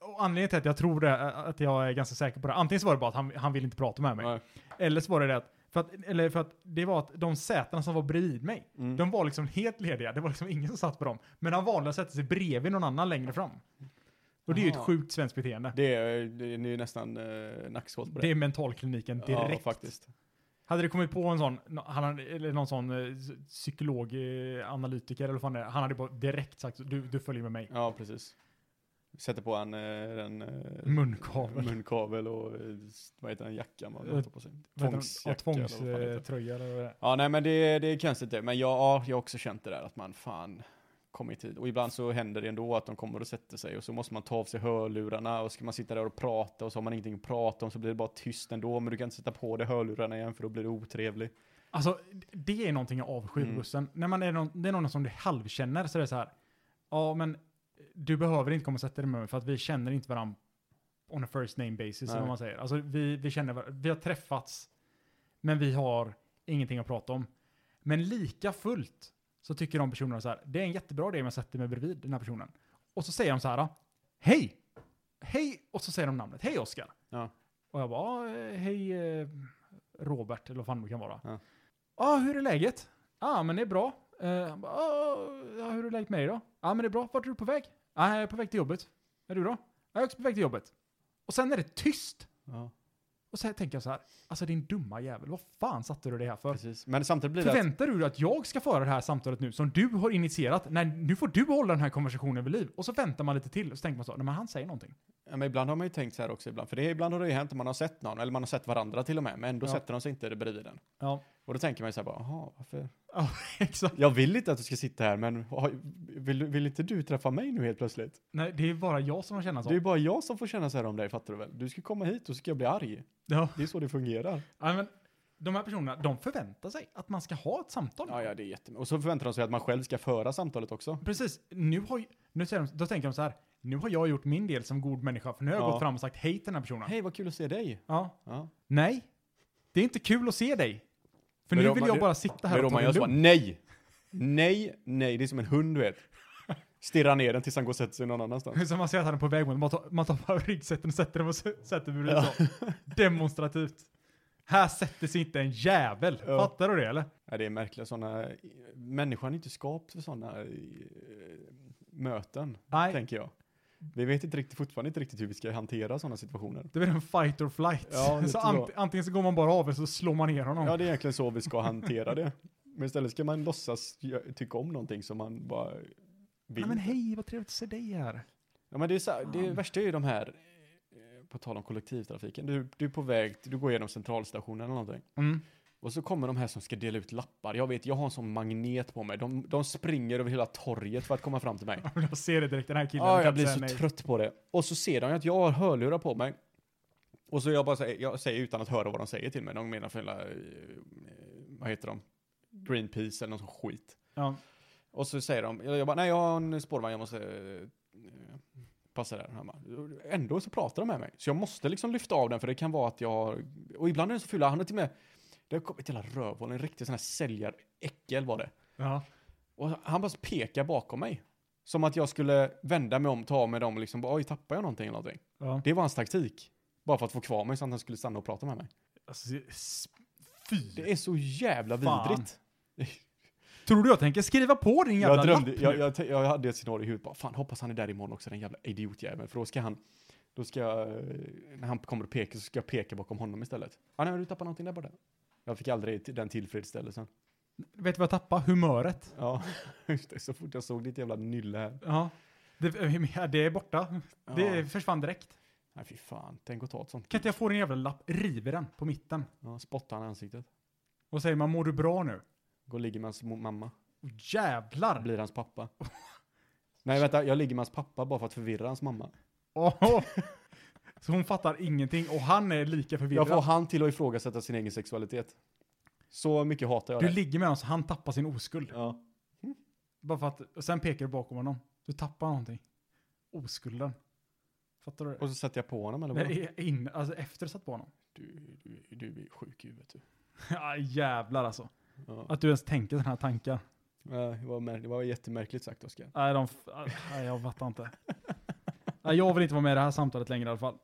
Speaker 1: och anledningen till att jag tror det, är att jag är ganska säker på det, antingen så var det bara att han, han ville inte prata med mig.
Speaker 3: Nej.
Speaker 1: Eller så var det det att, för att, eller för att det var att de sätena som var bredvid mig,
Speaker 3: Mm.
Speaker 1: de var liksom helt lediga. Det var liksom ingen som satt på dem. Men han valde att sätta sig bredvid någon annan längre fram. Och det är ju
Speaker 3: Jaha.
Speaker 1: ett sjukt svenskt beteende.
Speaker 3: Det är, det är ju nästan eh, nackskott på
Speaker 1: Det är mentalkliniken
Speaker 3: Ja,
Speaker 1: direkt.
Speaker 3: faktiskt.
Speaker 1: hade det kommit på en sån, nå- han hade, eller någon sån eh, psykolog, eh, analytiker eller vad fan det är, han hade bara direkt sagt du, du följer med mig.
Speaker 3: Ja, precis. Sätter på en, eh, en eh,
Speaker 1: Munkavel.
Speaker 3: munkavel och eh, vad heter den, jacka man
Speaker 1: Eh,
Speaker 3: har på sig.
Speaker 1: Tvångsjacka.
Speaker 3: Tvångsjacka. eller vad fan det heter.
Speaker 1: Tvångströja eller vad det är.
Speaker 3: Ja, nej men det, det är konstigt det. Men jag, ja, jag har också känt det där att man fan kommer i tid. Och ibland så händer det ändå att de kommer och sätter sig och så måste man ta av sig hörlurarna och ska man sitta där och prata och så har man ingenting att prata om så blir det bara tyst ändå. Men du kan inte sätta på dig hörlurarna igen för då blir det otrevlig.
Speaker 1: Alltså, det är någonting jag avskyr
Speaker 3: Mm.
Speaker 1: med bussen. När man är någon, det är någon som du halvkänner så är det så här. Ja, men du behöver inte komma och sätta dig med mig för att vi känner inte varandra on a first name basis, eller
Speaker 3: Nej.
Speaker 1: vad man säger. Alltså, vi, vi känner var- vi har träffats, men vi har ingenting att prata om. Men lika fullt så tycker de personerna så här, det är en jättebra idé om jag sätter mig bredvid den här personen. Och så säger de så här, hej! Hej! Och så säger de namnet, hej Oskar!
Speaker 3: Ja.
Speaker 1: Och jag bara, "Ja, hej eh, Robert, eller vad fan det kan vara.
Speaker 3: Ja.
Speaker 1: Ja, hur är läget? Ja, men det är bra. Eh, han bara, "Ah, ja, hur är läget med dig då? Ja, men det är bra. Vart är du på väg? Ja, jag är på väg till jobbet. Är du då? "Ja, Jag är också på väg till jobbet. Och sen är det tyst.
Speaker 3: Ja,
Speaker 1: Och så här tänker jag så här, alltså din dumma jävel, vad fan satte du det här för?
Speaker 3: precis. Men samtidigt blir det att,
Speaker 1: Förväntar du dig att jag ska föra det här samtalet nu som du har initierat? Nej, nu får du hålla den här konversationen vid liv. Och så väntar man lite till och så tänker man så, nej men han säger någonting.
Speaker 3: ja, men ibland har man ju tänkt så här också ibland. För det, är- ibland har det ju hänt att man har sett någon, eller man har sett varandra till och med, men ändå
Speaker 1: Ja.
Speaker 3: sätter de sig inte bredvid den.
Speaker 1: Ja,
Speaker 3: Och då tänker man ju så här bara, jaha, varför?
Speaker 1: exakt.
Speaker 3: Jag vill inte att du ska sitta här, men har- vill, vill inte du träffa mig nu helt plötsligt?
Speaker 1: Nej, det är bara jag som har känna så.
Speaker 3: Det är ju bara jag som får känna så här om dig, fattar du väl? Du ska komma hit och så ska jag bli arg.
Speaker 1: Ja.
Speaker 3: Det är så det fungerar.
Speaker 1: Ja, men de här personerna, de förväntar sig att man ska ha ett samtal.
Speaker 3: Ja, ja, det är jättemycket. Och så förväntar de sig att man själv ska föra samtalet också.
Speaker 1: Precis, nu har, ju- nu säger de, då tänker de så här, nu har jag gjort min del som god människa, för nu har jag
Speaker 3: Ja.
Speaker 1: gått fram och sagt hej till den här personen.
Speaker 3: Hej, vad kul att se dig.
Speaker 1: Ja.
Speaker 3: Ja.
Speaker 1: Nej, det är inte kul att se dig. För
Speaker 3: Men
Speaker 1: nu
Speaker 3: om
Speaker 1: vill
Speaker 3: man-
Speaker 1: jag bara sitta här och
Speaker 3: Men om
Speaker 1: ta
Speaker 3: man
Speaker 1: det
Speaker 3: gör så, bara,
Speaker 1: lugnt.
Speaker 3: nej, nej, nej, det är som en hund, du vet. Stirrar ner den tills han går och sätter sig någon annanstans.
Speaker 1: Som man ser att han är på väg mot, man tar, man tar bara ryggsäcken och sätter den och s- sätter bredvid
Speaker 3: Ja.
Speaker 1: så. Demonstrativt. Här sätter sig inte en jävel.
Speaker 3: Ja.
Speaker 1: Fattar du det eller?
Speaker 3: Ja, det är märkliga sådana, människan är inte skapt för sådana möten.
Speaker 1: Nej,
Speaker 3: tänker jag. Vi vet inte riktigt, fortfarande inte riktigt hur vi ska hantera sådana situationer.
Speaker 1: det blir en fight or flight.
Speaker 3: Ja, lite
Speaker 1: så
Speaker 3: så.
Speaker 1: ant, antingen så går man bara av eller så slår man ner honom.
Speaker 3: Ja, det är egentligen så vi ska hantera det. Men istället ska man låtsas gö- tycka om någonting som man bara vill.
Speaker 1: Nej, men hej, vad trevligt att se dig här.
Speaker 3: Ja, men det, är så, det
Speaker 1: Fan.
Speaker 3: värsta är ju de här, eh, på tal om kollektivtrafiken, du, du är på väg, du går igenom centralstationen eller någonting.
Speaker 1: Mm.
Speaker 3: Och så kommer de här som ska dela ut lappar. Jag vet, jag har en sån magnet på mig. De, de springer över hela torget för att komma fram till mig.
Speaker 1: Jag ser det direkt, den här killen
Speaker 3: Ja,
Speaker 1: kan
Speaker 3: jag
Speaker 1: inte
Speaker 3: blir
Speaker 1: säga
Speaker 3: så
Speaker 1: nej.
Speaker 3: trött på det. Och så ser de ju att jag har hörlurar på mig. Och så jag bara säger, jag säger utan att höra vad de säger till mig. De menar för hela, eh, vad heter de? Greenpeace eller någon sån skit.
Speaker 1: Ja.
Speaker 3: Och så säger de, jag jag bara, nej jag har en spårvagn, jag måste eh, passa där. Han bara, Ändå så pratar de med mig. Så jag måste liksom lyfta av den för det kan vara att jag har, och ibland är de så fula, han har till och med, det har kommit hela rövhål, en riktig sån här säljaräckel var det.
Speaker 1: Ja.
Speaker 3: Och han bara pekar bakom mig. Som att jag skulle vända mig om, ta med dem och liksom bara, oj, tappar jag någonting eller någonting?
Speaker 1: Ja.
Speaker 3: Det var hans taktik. Bara för att få kvar mig så att han skulle stanna och prata med mig.
Speaker 1: Alltså, s- fy.
Speaker 3: Det är så jävla
Speaker 1: Fan.
Speaker 3: vidrigt.
Speaker 1: Tror du jag tänker skriva på din jävla
Speaker 3: Jag, drömde,
Speaker 1: lapp
Speaker 3: jag,
Speaker 1: nu?
Speaker 3: jag, t- jag hade ett scenario i huvudet, bara, fan hoppas han är där imorgon också den jävla idiotjäveln. För då ska han, då ska jag, eh, när han kommer och pekar så ska jag peka bakom honom istället. Ja, nej, du tappar någonting där borta. Jag fick aldrig t- den tillfredsställelsen.
Speaker 1: Vet du vad jag tappade? Humöret.
Speaker 3: Ja, just det, så fort jag såg ditt jävla nylle här.
Speaker 1: Ja. Det, ja, det är borta.
Speaker 3: Ja.
Speaker 1: Det försvann direkt.
Speaker 3: Nej, fy fan, tänk att ta ett sånt.
Speaker 1: Kan inte jag få din jävla lapp? River den på mitten.
Speaker 3: Ja, spotta han i ansiktet.
Speaker 1: Och säger man mår du bra nu?
Speaker 3: Gå och ligger med hans mo- mamma.
Speaker 1: Oh, jävlar!
Speaker 3: Blir hans pappa. Nej, vänta, jag ligger med hans pappa bara för att förvirra hans mamma.
Speaker 1: Åhå. Så hon fattar ingenting och han är lika
Speaker 3: Jag får
Speaker 1: förvirrad.
Speaker 3: han till att ifrågasätta sin egen sexualitet. Så mycket hatar jag
Speaker 1: Du
Speaker 3: det.
Speaker 1: ligger med honom så han tappar sin oskuld.
Speaker 3: Ja.
Speaker 1: Bara för att, och sen pekar du bakom honom. Du tappar någonting. Oskulden. Fattar du?
Speaker 3: Och så sätter jag på honom eller vad?
Speaker 1: Nej, in, alltså efter satt på honom.
Speaker 3: Du, du, du är sjuk i huvudet du.
Speaker 1: Ja, jävlar alltså.
Speaker 3: Ja.
Speaker 1: Att du ens tänker sådana här tankar.
Speaker 3: Ja, Det, var mär- det var jättemärkligt sagt Oskar.
Speaker 1: Nej, de, f- nej jag fattar inte. Nej, jag vill inte vara med i det här samtalet längre i alla fall.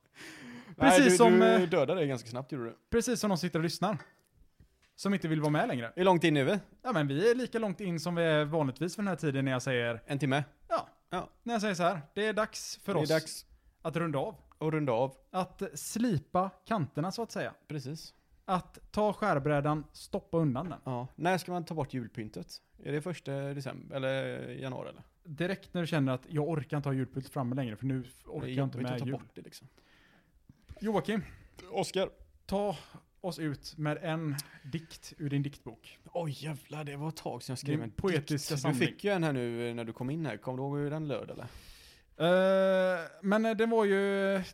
Speaker 3: Nej, du,
Speaker 1: som,
Speaker 3: Du
Speaker 1: eh,
Speaker 3: dödade det ganska snabbt gjorde du.
Speaker 1: Precis som de sitter och lyssnar. Som inte vill vara med längre.
Speaker 3: Hur långt in nu? eh?
Speaker 1: Ja, men vi är lika långt in som vi är vanligtvis för den här tiden när jag säger,
Speaker 3: En timme?
Speaker 1: ja,
Speaker 3: Ja.
Speaker 1: när jag säger så här, det är dags för
Speaker 3: det
Speaker 1: oss
Speaker 3: är dags
Speaker 1: att runda av.
Speaker 3: att runda av.
Speaker 1: Att slipa kanterna så att säga.
Speaker 3: Precis.
Speaker 1: Att ta skärbrädan, stoppa undan den.
Speaker 3: Ja. När ska man ta bort julpyntet? Är det första december eller januari eller?
Speaker 1: Direkt när du känner att jag orkar inte ha julpynt framme längre för nu orkar
Speaker 3: Det är
Speaker 1: jag inte
Speaker 3: jobbigt att
Speaker 1: med
Speaker 3: ta
Speaker 1: jul.
Speaker 3: bort det liksom.
Speaker 1: Joakim,
Speaker 3: Oskar.
Speaker 1: ta oss ut med en dikt ur din diktbok.
Speaker 3: Oj jävlar, det var ett tag sedan jag skrev
Speaker 1: Din
Speaker 3: en
Speaker 1: poetiska
Speaker 3: dikt.
Speaker 1: samling.
Speaker 3: Du fick ju en här nu eh, när du kom in här. Kommer du ihåg hur den löd eller?
Speaker 1: Eh, men eh, det var ju,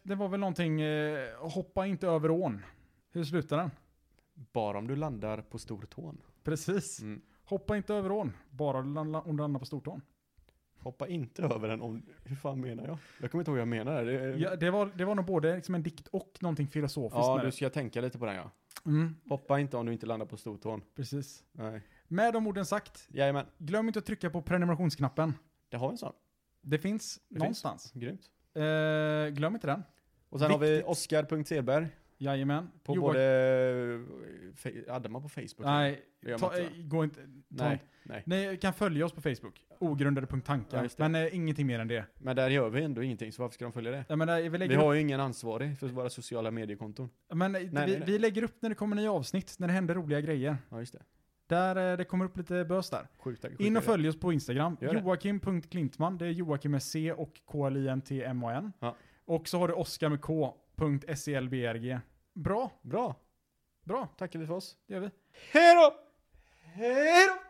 Speaker 1: det var väl någonting, eh, hoppa inte över ån. Hur slutar den?
Speaker 3: Bara om du landar på stortån.
Speaker 1: Precis.
Speaker 3: Mm.
Speaker 1: Hoppa inte över ån, bara du landar- om du landar på stortån.
Speaker 3: Hoppa inte över den om... Hur fan menar jag? Jag kommer inte ihåg vad jag menar. Det är...
Speaker 1: Ja, det, var, det var nog både liksom en dikt och någonting filosofiskt
Speaker 3: Mm. Ja,
Speaker 1: med
Speaker 3: du ska tänka lite på den ja.
Speaker 1: det. Mm,
Speaker 3: Hoppa inte om du inte landar på stortån.
Speaker 1: precis.
Speaker 3: Nej.
Speaker 1: Med de orden sagt,
Speaker 3: Jajamän,
Speaker 1: glöm inte att trycka på prenumerationsknappen.
Speaker 3: det har vi en sån.
Speaker 1: Det finns
Speaker 3: finns.
Speaker 1: någonstans.
Speaker 3: Grymt.
Speaker 1: Eh, glöm inte den.
Speaker 3: Och sen har vi
Speaker 1: Viktigt.
Speaker 3: Oskar.Selberg
Speaker 1: Jajamän.
Speaker 3: på
Speaker 1: Joak-
Speaker 3: både... eh, fe- Hade man på Facebook?
Speaker 1: Nej,
Speaker 3: Det gör man
Speaker 1: ta,
Speaker 3: inte, va?
Speaker 1: eh, gå inte... Ta
Speaker 3: Nej,
Speaker 1: inte.
Speaker 3: nej.
Speaker 1: Ni kan följa oss på Facebook.
Speaker 3: Ja,
Speaker 1: Ogrundade.tankar.
Speaker 3: just det.
Speaker 1: men eh, ingenting mer än det.
Speaker 3: Men där gör vi ändå ingenting, så varför ska de följa det?
Speaker 1: Jag menar, vi,
Speaker 3: Vi
Speaker 1: lägger
Speaker 3: har ju ingen ansvarig för våra sociala mediekonton.
Speaker 1: upp, men, eh,
Speaker 3: nej,
Speaker 1: vi,
Speaker 3: nej.
Speaker 1: vi lägger upp när det kommer nya avsnitt, när det händer roliga grejer.
Speaker 3: Ja, just det.
Speaker 1: Där eh, det kommer upp lite bös där.
Speaker 3: Sjukt. sjukt
Speaker 1: In och
Speaker 3: är det.
Speaker 1: följ oss på Instagram.
Speaker 3: Gör det.
Speaker 1: Joakim.Klintman. Det är Joakim med C och K-L-I-N-T-M-A-N.
Speaker 3: Ja.
Speaker 1: Och så har du Oskar med K. punkt E SELBRG. Bra,
Speaker 3: Bra,
Speaker 1: bra.
Speaker 3: tackar vi för oss.
Speaker 1: Det gör vi.
Speaker 3: Hej då! Hej då!